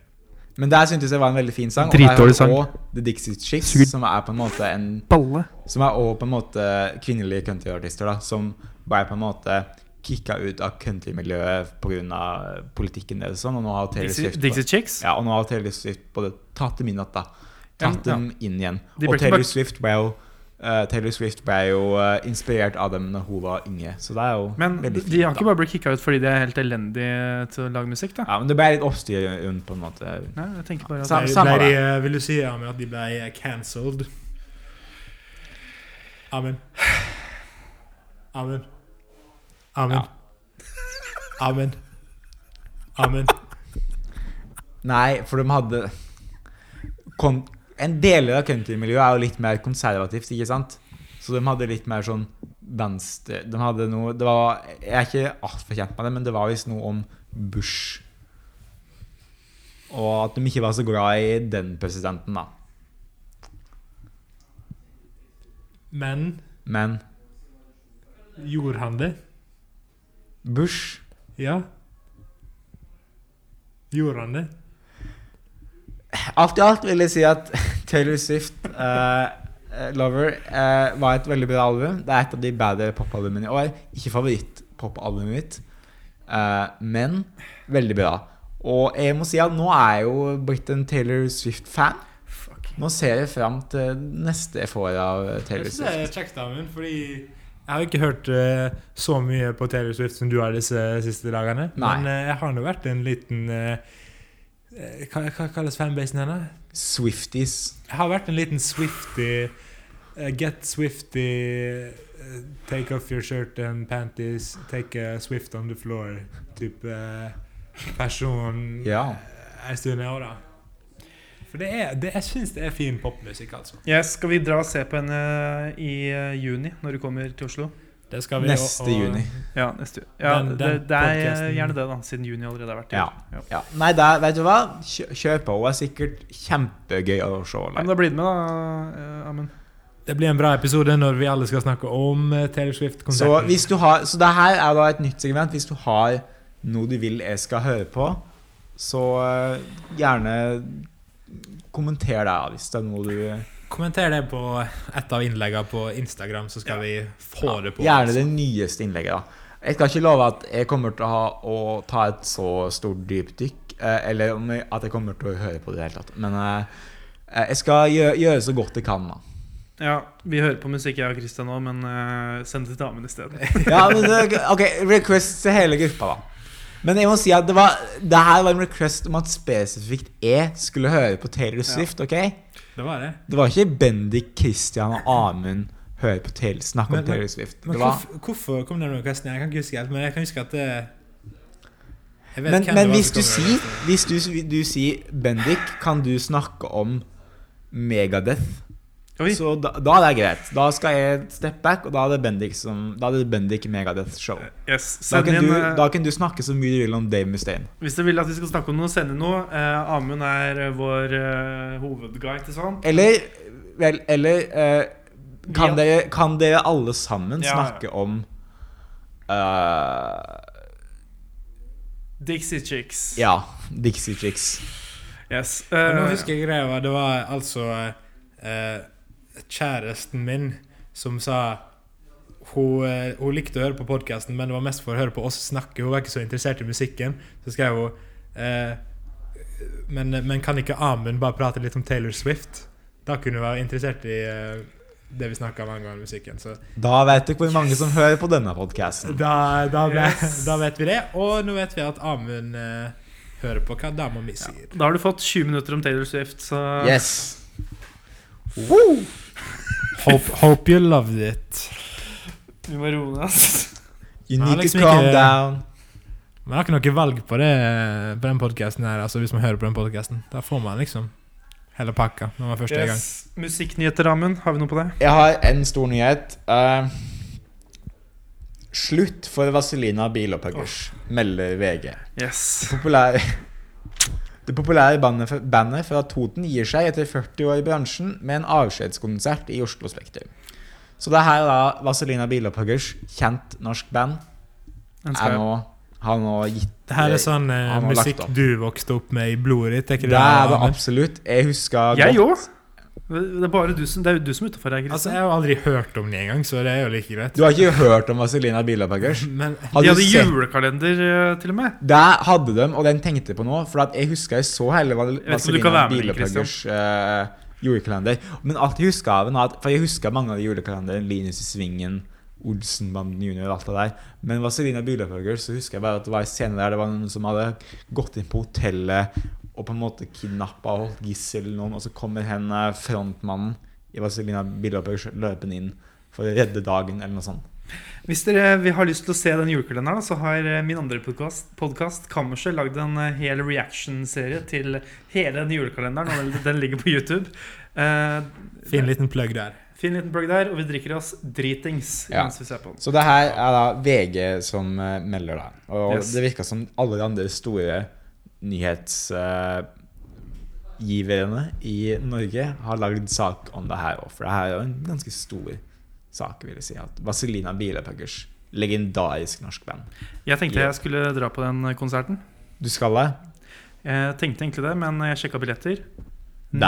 Men der syntes jeg var en veldig fin sang.
Dritdårlig sang.
Og The Dixie Chicks,
Sugd.
som er på en måte en
Balle.
Som er også på en måte kvinnelige countryartister, da, som ble på en måte kicka ut av countrymiljøet pga. politikken deres. Sånn, og nå har Taylor
Dixie,
Swift,
Dixie Chicks?
ja, og nå har Taylor Swift både tatt dem inn igjen, da.
Ja,
Tatt dem inn igjen.
De ble
Og
ikke
Taylor
bare-
Swift ble jo eh, Taylor Swift ble jo eh, inspirert av dem når hun var yngre. Så det er jo
Men de
veldig fint.
de har ikke
da.
bare blitt kicka ut fordi de er helt elendige til å lage musikk, da?
Ja, men det ble litt oppstyr rundt, på en måte.
Nei, jeg tenker bare
Sa-
at
Ble- ble
samme
de, eh, Vil du si Amund, at de ble eh, cancelled? Amund. Amund. Amund.
Ja.
Amund. Amund.
Nei, for de hadde kon En del av countrymiljøet er jo litt mer konservativt, ikke sant? Så de hadde litt mer sånn venstre De hadde noe det var, Jeg er ikke altfor kjent med det, men det var visst noe om Bush. Og at de ikke var så glad i den presidenten, da.
Men
Men
gjorde han det?
Bush
Ja. Gjorde han det?
Alt i alt vil jeg si at Taylor Swift, eh, eh, 'Lover', eh, var et veldig bra album. Det er et av de bedre popalbumene i år. Ikke favoritt-popalbumet mitt, eh, men veldig bra. Og jeg må si at nå er jeg jo blitt en Taylor Swift-fan.
Fuck.
Nå ser jeg fram til neste jeg får av Taylor
Jeg synes det
Swift.
er kjekt, Amund, fordi jeg har ikke hørt eh, så mye på Taylor Swift som du har disse siste dagene.
Nei.
Men eh, jeg har nå vært en liten eh, eh, Hva, hva kalles fanbasen hennes?
Swifties.
Jeg har vært en liten Swifty eh, Get Swifty eh, Take off your shirt and panties Take a Swift on the floor Type eh, person
Ja.
eh, En stund jeg også da For det er, det, jeg synes det er fin popmusikk altså
eh, Jeg skal vi dra og se på henne i eh, juni, når du kommer til Oslo?
Det skal vi
Neste juni.
Ja, neste uke. Ja,
Den- den
det, det er
podcasten-
gjerne det, da, siden juni allerede har vært i
Ja.
år. Ja.
Ja. Nei, der, vet du hva? Kjø- Kjør på. Hun er sikkert kjempegøy å se
Ja, men
live.
da blir det med, da. eh, Amund.
Det blir en bra episode når vi alle skal snakke om eh, Taylor
Så,
Swift-konserten.
hvis du har, så det her er da et nytt segment. Hvis du har noe du vil jeg skal høre på, så eh, gjerne kommenter det ja, hvis det er noe du
Kommenter det på et av innleggene på Instagram, så skal vi få det på. altså.
Gjerne det nyeste innlegget, da. Jeg skal ikke love at jeg kommer til å, ha, å ta et så stort dypdykk, eh, eller om jeg, at jeg kommer til å høre på det i det hele tatt. Men eh, eh, jeg skal gjøre, gjøre så godt jeg kan, da.
Ja, vi hører på musikk, jeg og Christian nå, men eh, send det til Amund i stedet.
Ja, men det, Ok, request til hele gruppa, da. Men jeg må si at det, var, det her var en request om at spesifikt jeg skulle høre på Taylor Swift. ok?
Det var det.
Det var ikke Bendik, Christian og Amund hører på Taylor, snakke om
Men- men-
Taylor Swift.
Men
Det var,
hvorfor, hvorfor kom den requesten? Jeg kan ikke huske helt, men jeg kan huske at det jeg vet
men
hvem det var
men hvis
som
du
kom med
sier
requesten.
Hvis du, du sier Bendik, kan du snakke om Megadeth?
Oi.
Så da, da er det greit. Da skal jeg step back, og da er det Bendik som Da er det Bendik Megadeth-show.
Yes,
Da,
send
kan
inn
du-
eh,
da kan du snakke så mye du vil om Dave Mustaine.
Hvis du vil at vi skal snakke om noe, send inn noe. Eh, Amund er eh, vår eh, hovedguide til sånt.
Eller Vel, eller eh, kan,
Ja.
dere, kan dere alle sammen
Ja, ja.
snakke om eh,
Dixie Chicks.
Ja, Dixie Chicks.
Yes.
Ja, Nå
eh,
husker jeg greia var Det var altså eh, kjæresten min som sa hun, eh, hun likte å høre på podkasten, men det var mest for å høre på oss snakke. Hun var ikke så interessert i musikken. Så skrev hun eh, men, men kan ikke Amund bare prate litt om Taylor Swift? Da kunne hun være interessert i eh, det vi snakka om angående musikken. Så
Da vet dere hvor mange som hører på denne podkasten.
da, da, ble,
Yes.
da vet vi det. Og nå vet vi at Amund eh, hører på hva dama mi sier.
Da har du fått 20 minutter om Taylor Swift, så
Yes. Woo!
Hope, hope you loved it.
vi må roe ned. ass.
You
Men
need
Alex
liksom
to calm
Mikke-
down.
Man har ikke noe valg på det på den podkasten her, altså hvis man hører på den podkasten. Da får man liksom hele pakka når man først er i gang.
Yes. Musikknyheter, Amund. Har vi noe på det?
Jeg har en stor nyhet. Eh, slutt for Vazelina Bilopphøggers, melder VG.
Yes.
populær Det populære bandet, fra- bandet fra Toten gir seg etter 40 år i bransjen med en avskjedskonsert i Oslo Spektrum. Så det her er da Vazelina Bilopphøggers, kjent norsk band,
Den
er
skal jeg.
nå, har nå gitt
Det her er sånn eh,
Han har lagt
musikk
opp.
du vokste opp med i blodet ditt. Er ikke
Det
det,
er det
Amund?
absolutt. Jeg husker
Jeg
godt
òg. Det er bare du som, det er jo du som er utafor her,
Altså,
Christian.
jeg har jo aldri hørt om det engang, så det er jo like greit.
Du har ikke hørt om Vazelina Bilopphøggers?
Men
Har
De
du
hadde
sett-
julekalender eh, til og med.
Det hadde de, og den tenkte jeg på nå. For at jeg husker jeg så hele Val-
vet ikke om du kan
Vazelina
være med,
Bilopphøggers eh, julekalender. Men alt jeg husker av den, er at- for jeg husker mange av de julekalenderne. Linus i Svingen, Olsenbanden junior og alt det der. Men Vazelina Bilopphøggers så husker jeg bare at det var en scene der det var noen som hadde gått inn på hotellet og på en måte kidnappa og holdt gissel noen, og så kommer hen eh, frontmannen i Vazelina Bilopphøggers løpende inn for å redde dagen, eller noe sånt.
Hvis dere vil- har lyst til å se den julekalenderen, så har eh, min andre podkast, Kammerset, lagd en eh, hel reaction-serie til hele den julekalenderen. Og den, den ligger på YouTube. Eh,
fin liten plugg der.
Finn en liten plugg der, og vi drikker oss dritings
Ja.
mens vi ser på den.
Så det her er da VG som eh, melder, da. Og
Yes.
det virker som alle de andre store nyhetsgiverne i Norge har lagd sak om det her òg, for det her er jo en ganske stor sak, vil jeg si. At Vazelina Bilepackers, legendarisk norsk band.
Jeg tenkte jeg skulle dra på den eh, konserten.
Du skal det?
Jeg tenkte egentlig det, men jeg sjekka billetter.
Det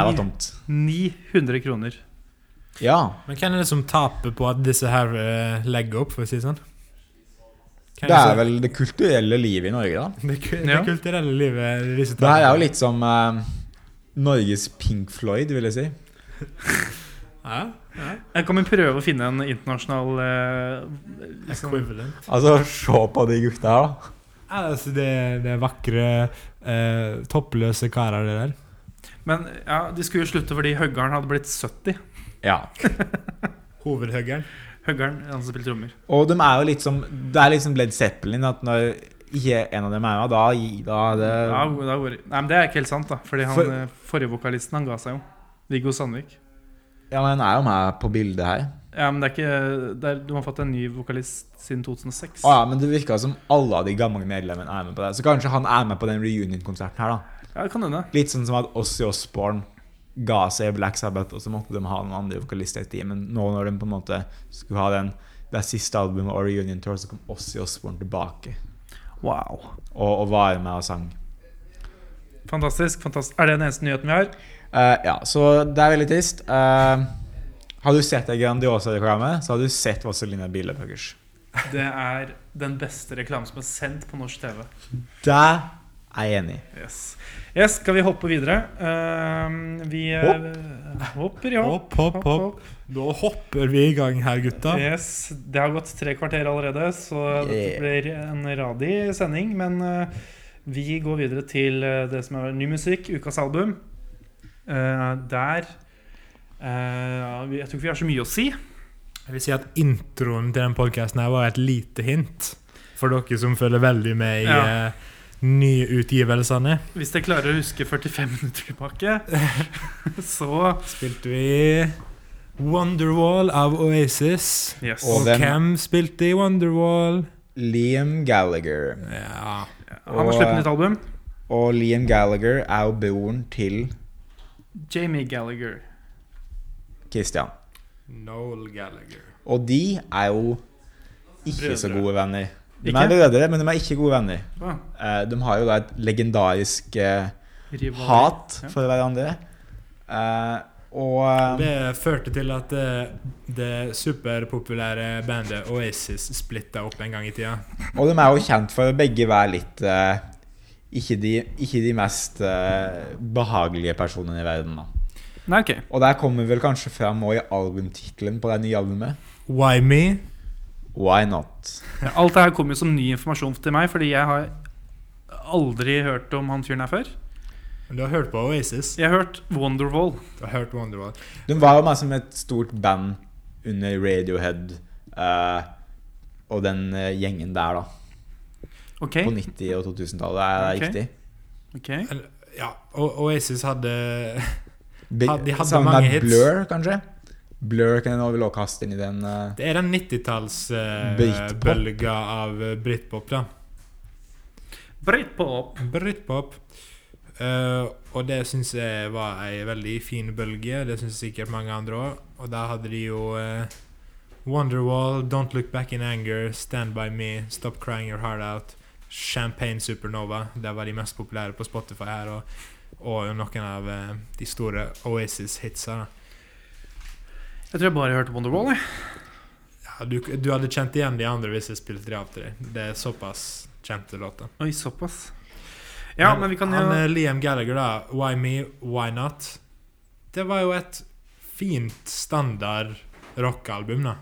var tomt.
900 kroner.
Ja.
Men hvem er det som taper på at disse her eh, legger opp, for å si det sånn? Hvem
Det er
som-
vel det kulturelle livet i Norge, da.
det, ku- det
Ja.
kulturelle livet disse
Det her er
taper
jo
på.
litt som eh, Norges Pink Floyd, vil jeg si.
ja, ja.
Jeg kan jo prøve å finne en internasjonal eh, liksom,
Equivalent.
Altså, se på de gutta her, da.
Ja, altså det, det er vakre, eh, toppløse karer, det der.
Men ja, de skulle jo slutte fordi høggeren hadde blitt 70.
Ja.
Hovedhuggeren.
Høggeren, han som spiller trommer.
Og de er jo litt som Det er liksom Led Zeppelin at når ikke en av dem er med, da, gi- da er det
Ja, da går det. Nei, men det er ikke helt sant, da. Fordi han,
For-
eh, forrige vokalisten, han ga seg jo. Viggo Sandvik.
Ja, men han er jo med på bildet her.
Ja, men det er ikke det er, De har fått en ny vokalist siden 2006.
Å ja, men det virka som alle av de gamle medlemmene er med på det. Så kanskje han er med på den reunion-konserten her, da.
Ja, det kan hende.
Litt sånn som at Ozzy Osbourne ga seg Black Sabbath, og så måtte de ha noen andre vokalister i teamet. Nå når de på en måte skulle ha den det siste albumet og reunion tour, så kom Ozzy Osbourne tilbake
Wow.
og, og var med og sang.
Fantastisk. fantastisk Er det den eneste nyheten vi har?
Eh, ja, så det er veldig trist. Eh, har du sett det Grandiosa-reklamet, så har du sett Vazelina Bilebøkers.
Det er den beste reklamen som er sendt på norsk TV.
Det er jeg enig i.
Yes. yes skal vi hoppe videre? Eh, vi eh, hopper, ja.
Hopp, hopp, hopp. Da hopper vi i gang her, gutta.
Yes, Det har gått tre kvarter allerede, så
Yeah.
dette blir en radig sending. Men eh, vi går videre til eh, det som er ny musikk, ukas album. Eh, der eh, vi- Jeg tror ikke vi har så mye å si.
Jeg vil si at introen til den podkasten her var et lite hint for dere som følger veldig med i
Ja.
eh, nyutgivelsene.
Hvis jeg klarer å huske 45 minutter tilbake, så
Spilte vi Wonderwall av Oasis.
Yes.
Og
Og
hvem-
hvem spilte i Wonderwall?
Liam Gallagher.
Ja
Han har sluppet nytt album.
Og Liam Gallagher er jo broren til
Jamie Gallagher.
Christian.
Noel Gallagher.
Og de er jo ikke så
Brødre.
gode venner. De
Ikke?
er brødre, men de er ikke gode venner.
Ah,
Eh, de har jo da et legendarisk eh,
rival.
hat
Ja.
for hverandre. Eh, og eh,
Det førte til at det, det superpopulære bandet Oasis splitta opp en gang i tida.
Og de er jo kjent for å begge være litt eh, ikke, de, ikke de mest eh, behagelige personene i verden, da.
Nei, ok.
Og der kommer vel kanskje fram også i albumtittelen på det nye albumet.
Why me?
Why not?
Ja, Alt det her kom jo som ny informasjon til meg, fordi jeg har aldri hørt om han fyren her før.
Du har hørt på Oasis?
Jeg har hørt Wonderwall.
Du har hørt Wonderwall.
De var jo med som et stort band under Radiohead eh, og den eh, gjengen der, da.
Ok.
På 90- og 2000-tallet, er det
Ok.
riktig?
ok
Eller, Ja, O- Oasis hadde
Be-
Ja, de hadde
sammen
mange
med
hits.
Blur, kanskje? Blur kan jeg vel også kaste inn i den. eh.
Det er den 90-tallsbølga
Britpop.
bølga av eh, britpop, da.
Britpop.
Britpop. Eh, og det syns jeg var ei veldig fin bølge. Det syns sikkert mange andre òg. Og der hadde de jo eh, Wonderwall, Don't Look Back in Anger, Stand By Me, Stop Crying Your Heart Out, Champagne Supernova. Der var de mest populære på Spotify her. Og, og noen av eh, de store Oasis-hitsa. da.
Jeg tror jeg bare hørte Wonderwall. Jeg.
Ja, du, du hadde kjent igjen de andre hvis jeg spilte de av til deg. Det er såpass kjente låter.
Oi, såpass. Ja, men vi kan jo
Han eh, Liam Gallagher, da. Why me, why not? Det var jo et fint standard rockealbum, da.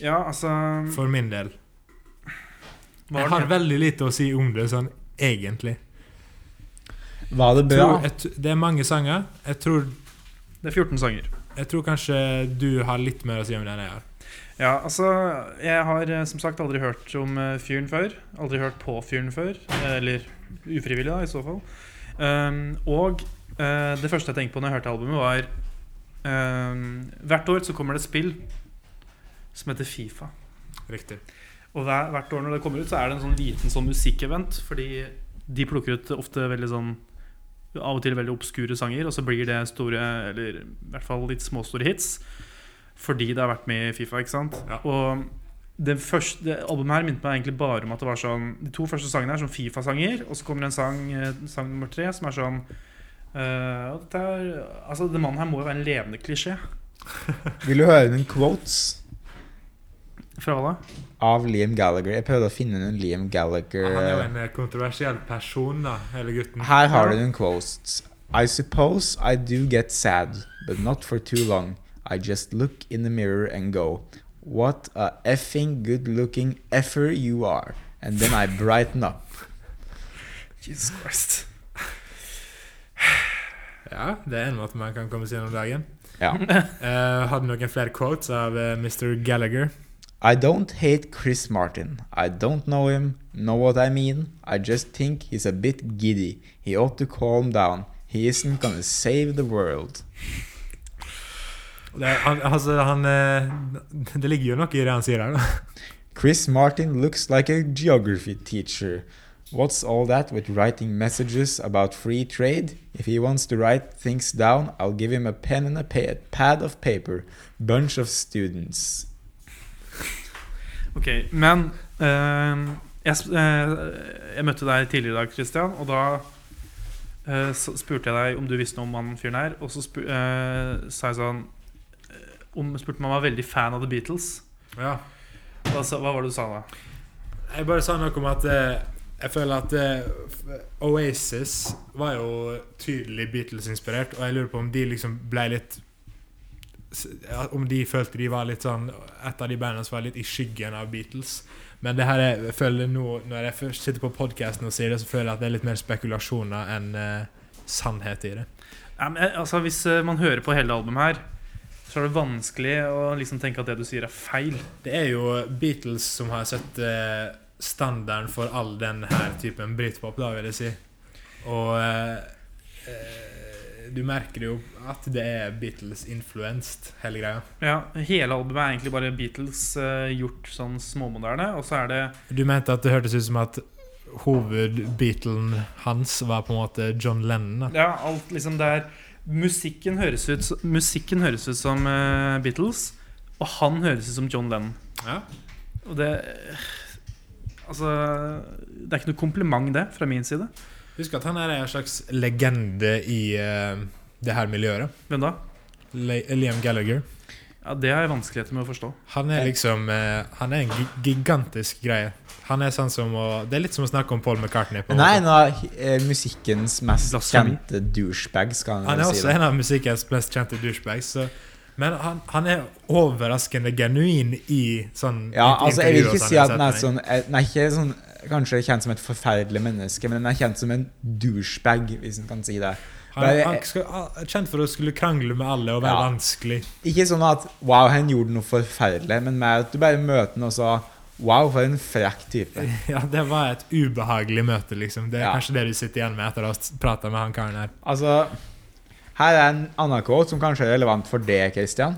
Ja, altså
For min del. Jeg
var
har
det?
veldig lite å si om det, sånn egentlig.
Var det
Jeg
bra?
Tror, jeg, t- det er mange sanger. Jeg tror,
Det er 14 sanger.
jeg tror kanskje du har litt mer å si om det enn jeg har.
Ja, altså Jeg har eh, som sagt aldri hørt om eh, fyren før. Aldri hørt på fyren før. eh, Eller ufrivillig, da, i så fall. Um, og eh, det første jeg tenkte på når jeg hørte albumet, var um, Hvert år så kommer det et spill som heter Fifa.
Riktig.
Og hver, hvert år når det kommer ut, så er det en sånn liten sånn musikkevent. Fordi de plukker ut ofte veldig sånn Av og til veldig obskure sanger, og så blir det store, eller i hvert fall litt småstore hits. Fordi det har vært med i Fifa, ikke sant?
Ja.
Og det første det albumet her minte meg egentlig bare om at det var sånn De to første sangene er sånn Fifa-sanger, og så kommer det en sang, eh, sang nummer tre, som er sånn eh, og dette er, altså, Den mannen her må jo være en levende klisjé.
Vil du høre noen quotes
Fra hva da?
av Liam Gallagher? Jeg prøvde å finne noen Liam Gallagher
Han er jo en eh, kontroversiell person, da, hele gutten.
Her har du noen quotes. I suppose I do get sad, but not for too long. I just look in the mirror and go, what a effing good looking effer you are. And then I brighten up.
Jesus Christ.
Ja, det er en måte man kan komme seg gjennom dagen.
Ja.
Eh, hadde noen flere quotes av eh, Mr. Gallagher.
I don't hate Chris Martin. I don't know him, know what I mean. I just think he's a bit giddy. He ought to calm down. He isn't gonna save the world.
Og Det, er- han, altså, han, eh, det ligger jo noe i det han sier her. da.
Chris Martin looks like a geography teacher. What's all that with writing messages about free trade? If he wants to write things down, I'll give him a pen and a pa- pad of paper. Bunch of students.
Ok, men eh, jeg, sp- eh, jeg møtte deg tidligere i dag, Christian, og da eh, så spurte jeg deg om du visste noe om han fyren her. Og så spu- eh, sa jeg sånn eh, om, Spurte om han var veldig fan av The Beatles. Da sa- hva var det du sa da?
Jeg bare sa noe om at eh, jeg føler at eh, f- Oasis var jo tydelig Beatles-inspirert, og jeg lurer på om de liksom ble litt s- ja, Om de følte de var litt sånn Et av de bandene som var litt i skyggen av Beatles. Men det her er, jeg føler nå, når jeg først sitter på podkasten og sier det, så føler jeg at det er litt mer spekulasjoner enn eh, sannhet i det.
Nei, men, eh, altså, hvis eh, man hører på hele albumet her, så er det vanskelig å liksom tenke at det du sier, er feil.
Det er jo Beatles som har satt eh, standarden for all den her typen britpop, da, vil jeg si. Og eh, eh, du merker jo at det er Beatles-influenced, hele greia.
Ja, Hele albumet er egentlig bare Beatles eh, gjort sånn småmoderne, og så er det
Du mente at det hørtes ut som at hovedbeatlen hans var på en måte John Lennon? da.
Ja, alt liksom der Musikken høres ut, musikken høres ut som eh, Beatles, og han høres ut som John Lennon.
Ja.
Og det eh, Altså Det er ikke noe kompliment, det, fra min side.
Husk at han her er en slags legende i eh, det her miljøet. da.
Hvem da?
Le Liam Gallagher.
Ja, Det har jeg vanskeligheter med å forstå.
Han er liksom eh, Han er en gi- gigantisk greie. Han er sånn som å Det er litt som å snakke om Paul McCartney. på en
Nei,
måte.
nå er he- eh, musikkens mest
Blasfemi.
kjente douchebag, skal han
Han er
vel si.
også
da.
en av musikkens mest kjente douchebags. Så, men han, han er overraskende genuin i sånn
Ja, altså, jeg vil
intervjuer og
ikke
sånn
si at den er
setting.
sånn eh, Den er ikke sånn Kanskje kjent som et forferdelig menneske, men den er kjent som en douchebag, hvis en kan si det.
han, han skal, han er kjent for å skulle krangle med alle og være
Ja.
vanskelig.
Ikke sånn at Wow, han gjorde noe forferdelig, men mer at du bare møter han og sa Wow, for en frekk type.
Ja, Det var et ubehagelig møte, liksom. Det er
Ja.
kanskje det du sitter igjen med etter å ha prata med han karen her.
Altså Her er en annen quote som kanskje er relevant for deg, Christian.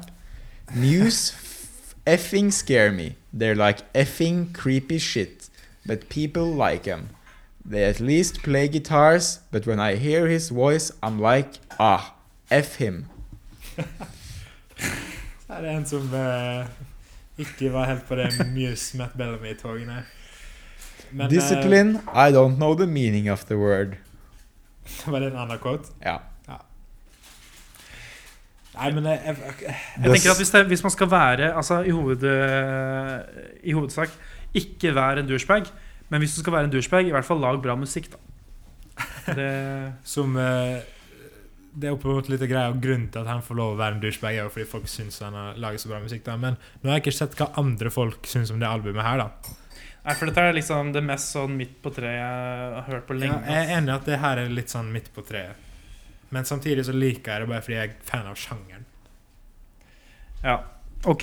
News f- effing scare me. They're like effing creepy shit. But people like him. They at least play guitars, but when I hear his voice, I'm like Ah, F him.
Her er en som eh, ikke var helt på det Muse Matt Bellamy-toget, nei. Men, eh,
Discipline, I don't know the meaning of the word.
Var det en annen quote?
Ja.
Nei, men jeg, jeg, eh, jeg,
Jeg tenker at Hvis, det, hvis man skal være Altså i, hoved, eh, i hovedsak ikke vær en douchebag, men hvis du skal være en douchebag, i hvert fall lag bra musikk, da. Det,
Som eh, Det er jo på en måte litt greia og grunnen til at han får lov å være en douchebag, er jo fordi folk syns han har laget så bra musikk. da Men nå har jeg ikke sett hva andre folk syns om det albumet her, da.
nei, for dette er liksom det mest sånn midt på treet jeg har hørt på
Ja,
lenge.
jeg er enig i at det her er litt sånn midt på treet. Men samtidig så liker jeg det bare fordi jeg er fan av sjangeren.
Ja, ok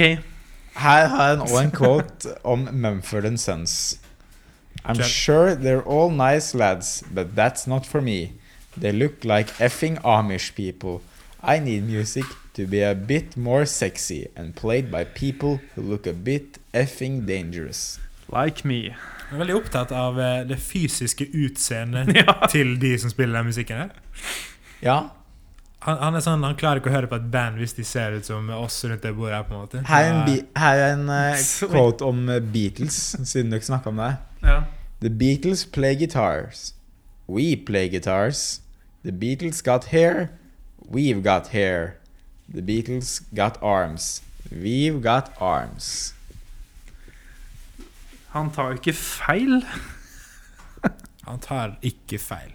Her har han også en quote om Mumford and Sons. I'm
Kjør.
sure they're all nice lads, but that's not for me. They look like effing Amish people. I need music to be a bit more sexy and played by people who look a bit effing dangerous.
Like me
Jeg er veldig opptatt av eh, det fysiske utseendet
Ja.
til de som spiller den musikken her.
Ja,
Han, han er sånn, han klarer ikke å høre på et band hvis de ser ut som oss rundt det bordet her, på en måte.
her er en,
Ja.
bi her er en eh,
Sorry.
quote om eh, Beatles, siden dere snakket om det.
ja.
The Beatles play guitars. We play guitars. The Beatles got hair. We've got hair. The Beatles got arms. We've got arms.
Han tar jo ikke feil
Han tar ikke feil.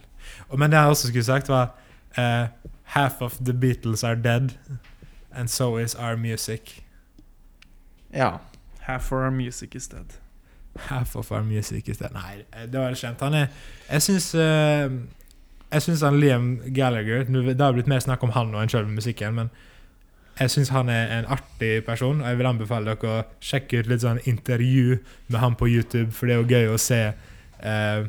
Og, men det jeg også skulle sagt, var eh, Half of the Beatles are dead, and so is our music.
Ja.
Half for our music is dead
Half of our music is dead. Nei, eh, det var kjent. Han er Jeg syns eh, Jeg syns han Liam Gallagher nå- Det har blitt mer snakk om han og enn sjøl musikken, men jeg syns han er en artig person, og jeg vil anbefale dere å sjekke ut litt sånn intervju med han på YouTube, for det er jo gøy å se eh,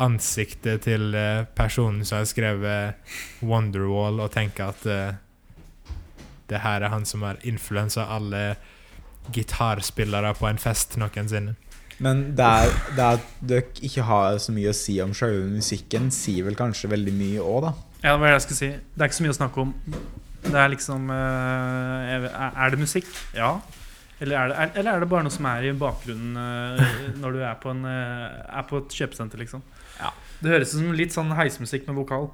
ansiktet til eh, personen som har skrevet Wonderwall, og tenke at eh, det her er han som har influensa alle gitarspillere på en fest noensinne.
Men det, er, det at dere ikke har så mye å si om selve musikken, sier vel kanskje veldig mye òg, da.
Ja, det var det jeg skulle si. Det er ikke så mye å snakke om. Det er liksom eh, jeg vet- Er er det musikk? Ja. Eller er, det, er, eller er det bare noe som er i bakgrunnen eh, når du er på, en, eh, er på et kjøpesenter, liksom?
Ja.
Det høres ut som litt sånn heismusikk med vokal.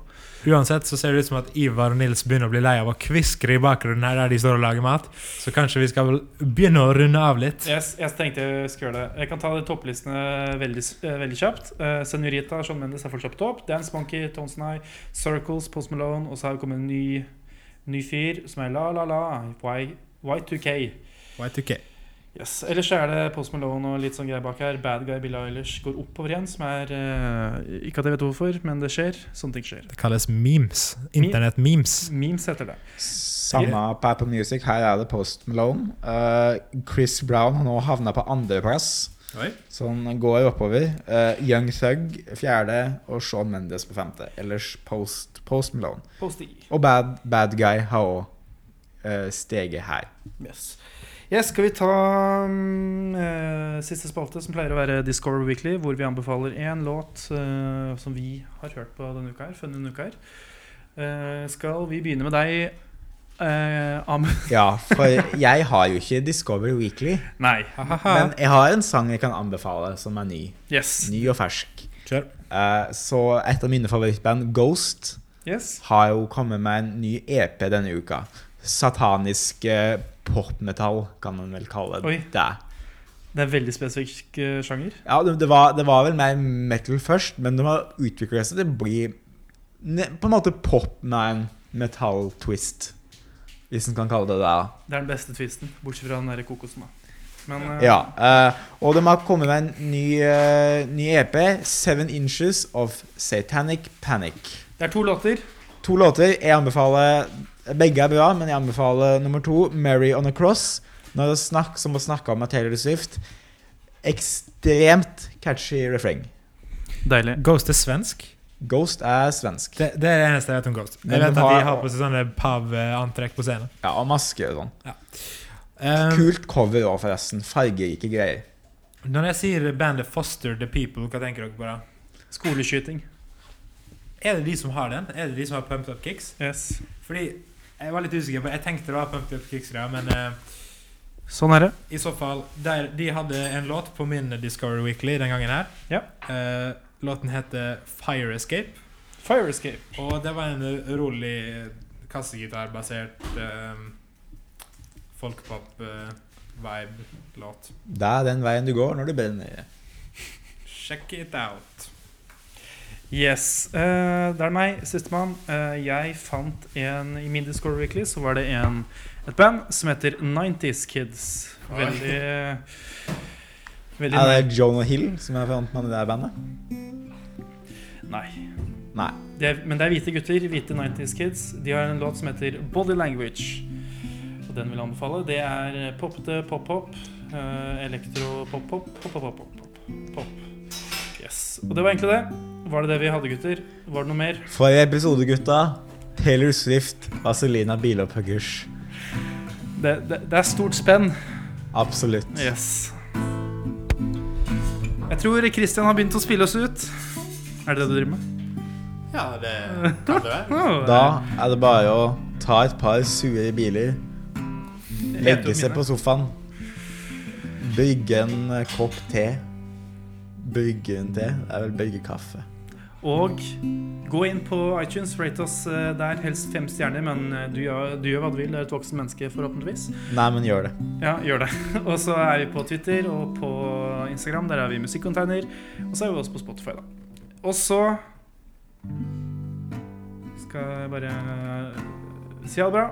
Uansett så ser det ut som at Ivar og Nils begynner å bli lei av å kviskre i bakgrunnen her der de står og lager mat, så kanskje vi skal vel begynne å runde av litt.
Jeg, jeg tenkte jeg skulle gjøre det. Jeg kan ta de topplistene veldig, s- eh, veldig kjapt. Uh, Senorita, Sean Mendes er fortsatt på topp. Dance Monkey, Tones and I, Circles, Post Malone. Og så har det kommet en ny, ny fyr som er La La La, Y, Y2K.
Y2K.
Yes. Ellers så er det Post Malone og litt sånn greier bak her. Bad Guy Billie Eilish går oppover igjen, som er eh, Ikke at jeg vet hvorfor, men det skjer. Sånne ting skjer.
Det kalles memes. Internett-memes.
Memes heter det.
Samme på Apple Music. Her er det Post Malone. Eh, Chris Brown har nå havna på andreplass, så han går oppover. Eh, Young Thug fjerde, og Shawn Mendes på femte. Ellers Post, Post Malone.
Post I.
Og Bad, bad Guy har òg steget her.
Yes. yes, skal vi ta mm, eh, siste spalte, som pleier å være Discover Weekly, hvor vi anbefaler én låt eh, som vi har hørt på denne uka her. Funnet denne uka her. Eh, skal vi begynne med deg, eh, Amund?
Ja, for jeg har jo ikke Discovery Weekly,
Nei.
men jeg har en sang jeg kan anbefale som er ny.
Yes.
Ny og fersk.
Kjør.
Eh, så et av mine favorittband, Ghost,
yes.
har jo kommet med en ny EP denne uka. Satanisk eh, popmetall, kan man vel kalle
Oi.
det.
Det er veldig spesifikk eh, sjanger.
Ja, det, det, var, det var vel mer metal først, men de har utvikla seg til å bli ne- på en måte pop med en metall-twist, hvis en kan kalle det det. da.
Det er den beste twisten, bortsett fra den der kokosen, da. Men eh,
Ja, eh, og de har kommet med en ny, eh, ny EP, 'Seven Inches of Satanic Panic'.
det er to låter.
To låter. Jeg anbefaler Begge er bra, men jeg anbefaler nummer to, 'Mary On A Cross'. Når det er snakk, som å snakke om av Taylor Swift. Ekstremt catchy refreng.
Deilig.
Ghost er svensk.
Ghost er svensk.
Det, det er det eneste jeg vet om Ghost.
Men
Jeg vet at
de
de
har-
har på seg sånne pav-antrekk på scenen.
Ja, og maske og sånn.
Um,
Kult cover òg, forresten. Fargerike greier.
Når jeg sier bandet Foster the People, hva tenker dere på da?
Skoleskyting.
Er det de som har den? Er det de som har Pumped Up Kicks?
Yes.
Fordi jeg var litt usikker på Jeg tenkte det var Pumped Up Kicks, da, men eh,
Sånn er det.
i så fall der, De hadde en låt på min Discovery Weekly den gangen her.
Ja.
Eh, låten heter Fire Escape.
Fire Escape.
Og det var en rolig kassegitarbasert um, eh, folkepop-vibe-låt.
Det er den veien du går når du brenner.
Check it out.
Yes. eh, det er meg, sistemann. Eh, jeg fant en I min Discord Weekly så var det en, et band som heter 90's Kids. Veldig Veldig
Er det Jonah Hill som er front med det der bandet?
Nei.
Nei.
Det er, men det er hvite gutter. Hvite 90's Kids. De har en låt som heter Body Language. Og den vil jeg anbefale. Det er poppete pop-pop. eh, Elektro-pop-pop. Pop-pop-pop-pop. Yes. Og det var egentlig det. Var det det vi hadde, gutter? Var det noe mer?
Forrige episode, gutta. Taylor Swift, Vazelina Bilopphøggers.
Det, det, det er stort spenn.
Absolutt.
Yes. Jeg tror Christian har begynt å spille oss ut. Er det det du driver med?
Ja, det kan det være.
Oh,
Da er det bare å ta et par sure biler, legge seg på sofaen, brygge en eh, kopp te. Brygge en te? Det er vel brygge kaffe.
Og gå inn på iTunes, rate oss eh, der, helst fem stjerner, men eh, du gjør, du gjør hva du vil. Du er et voksen menneske, forhåpentligvis.
Nei, men gjør det.
Ja, gjør det. Og så er vi på Twitter og på Instagram. Der er vi musikkonteiner. Og så er vi også på Spotify, da. Og så skal jeg bare si ha det bra.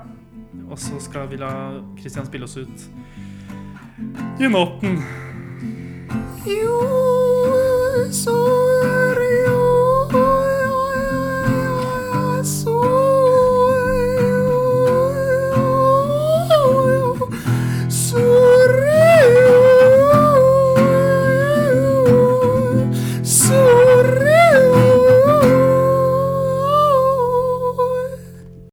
Og så skal vi la Christian spille oss ut. Junoten.
You were so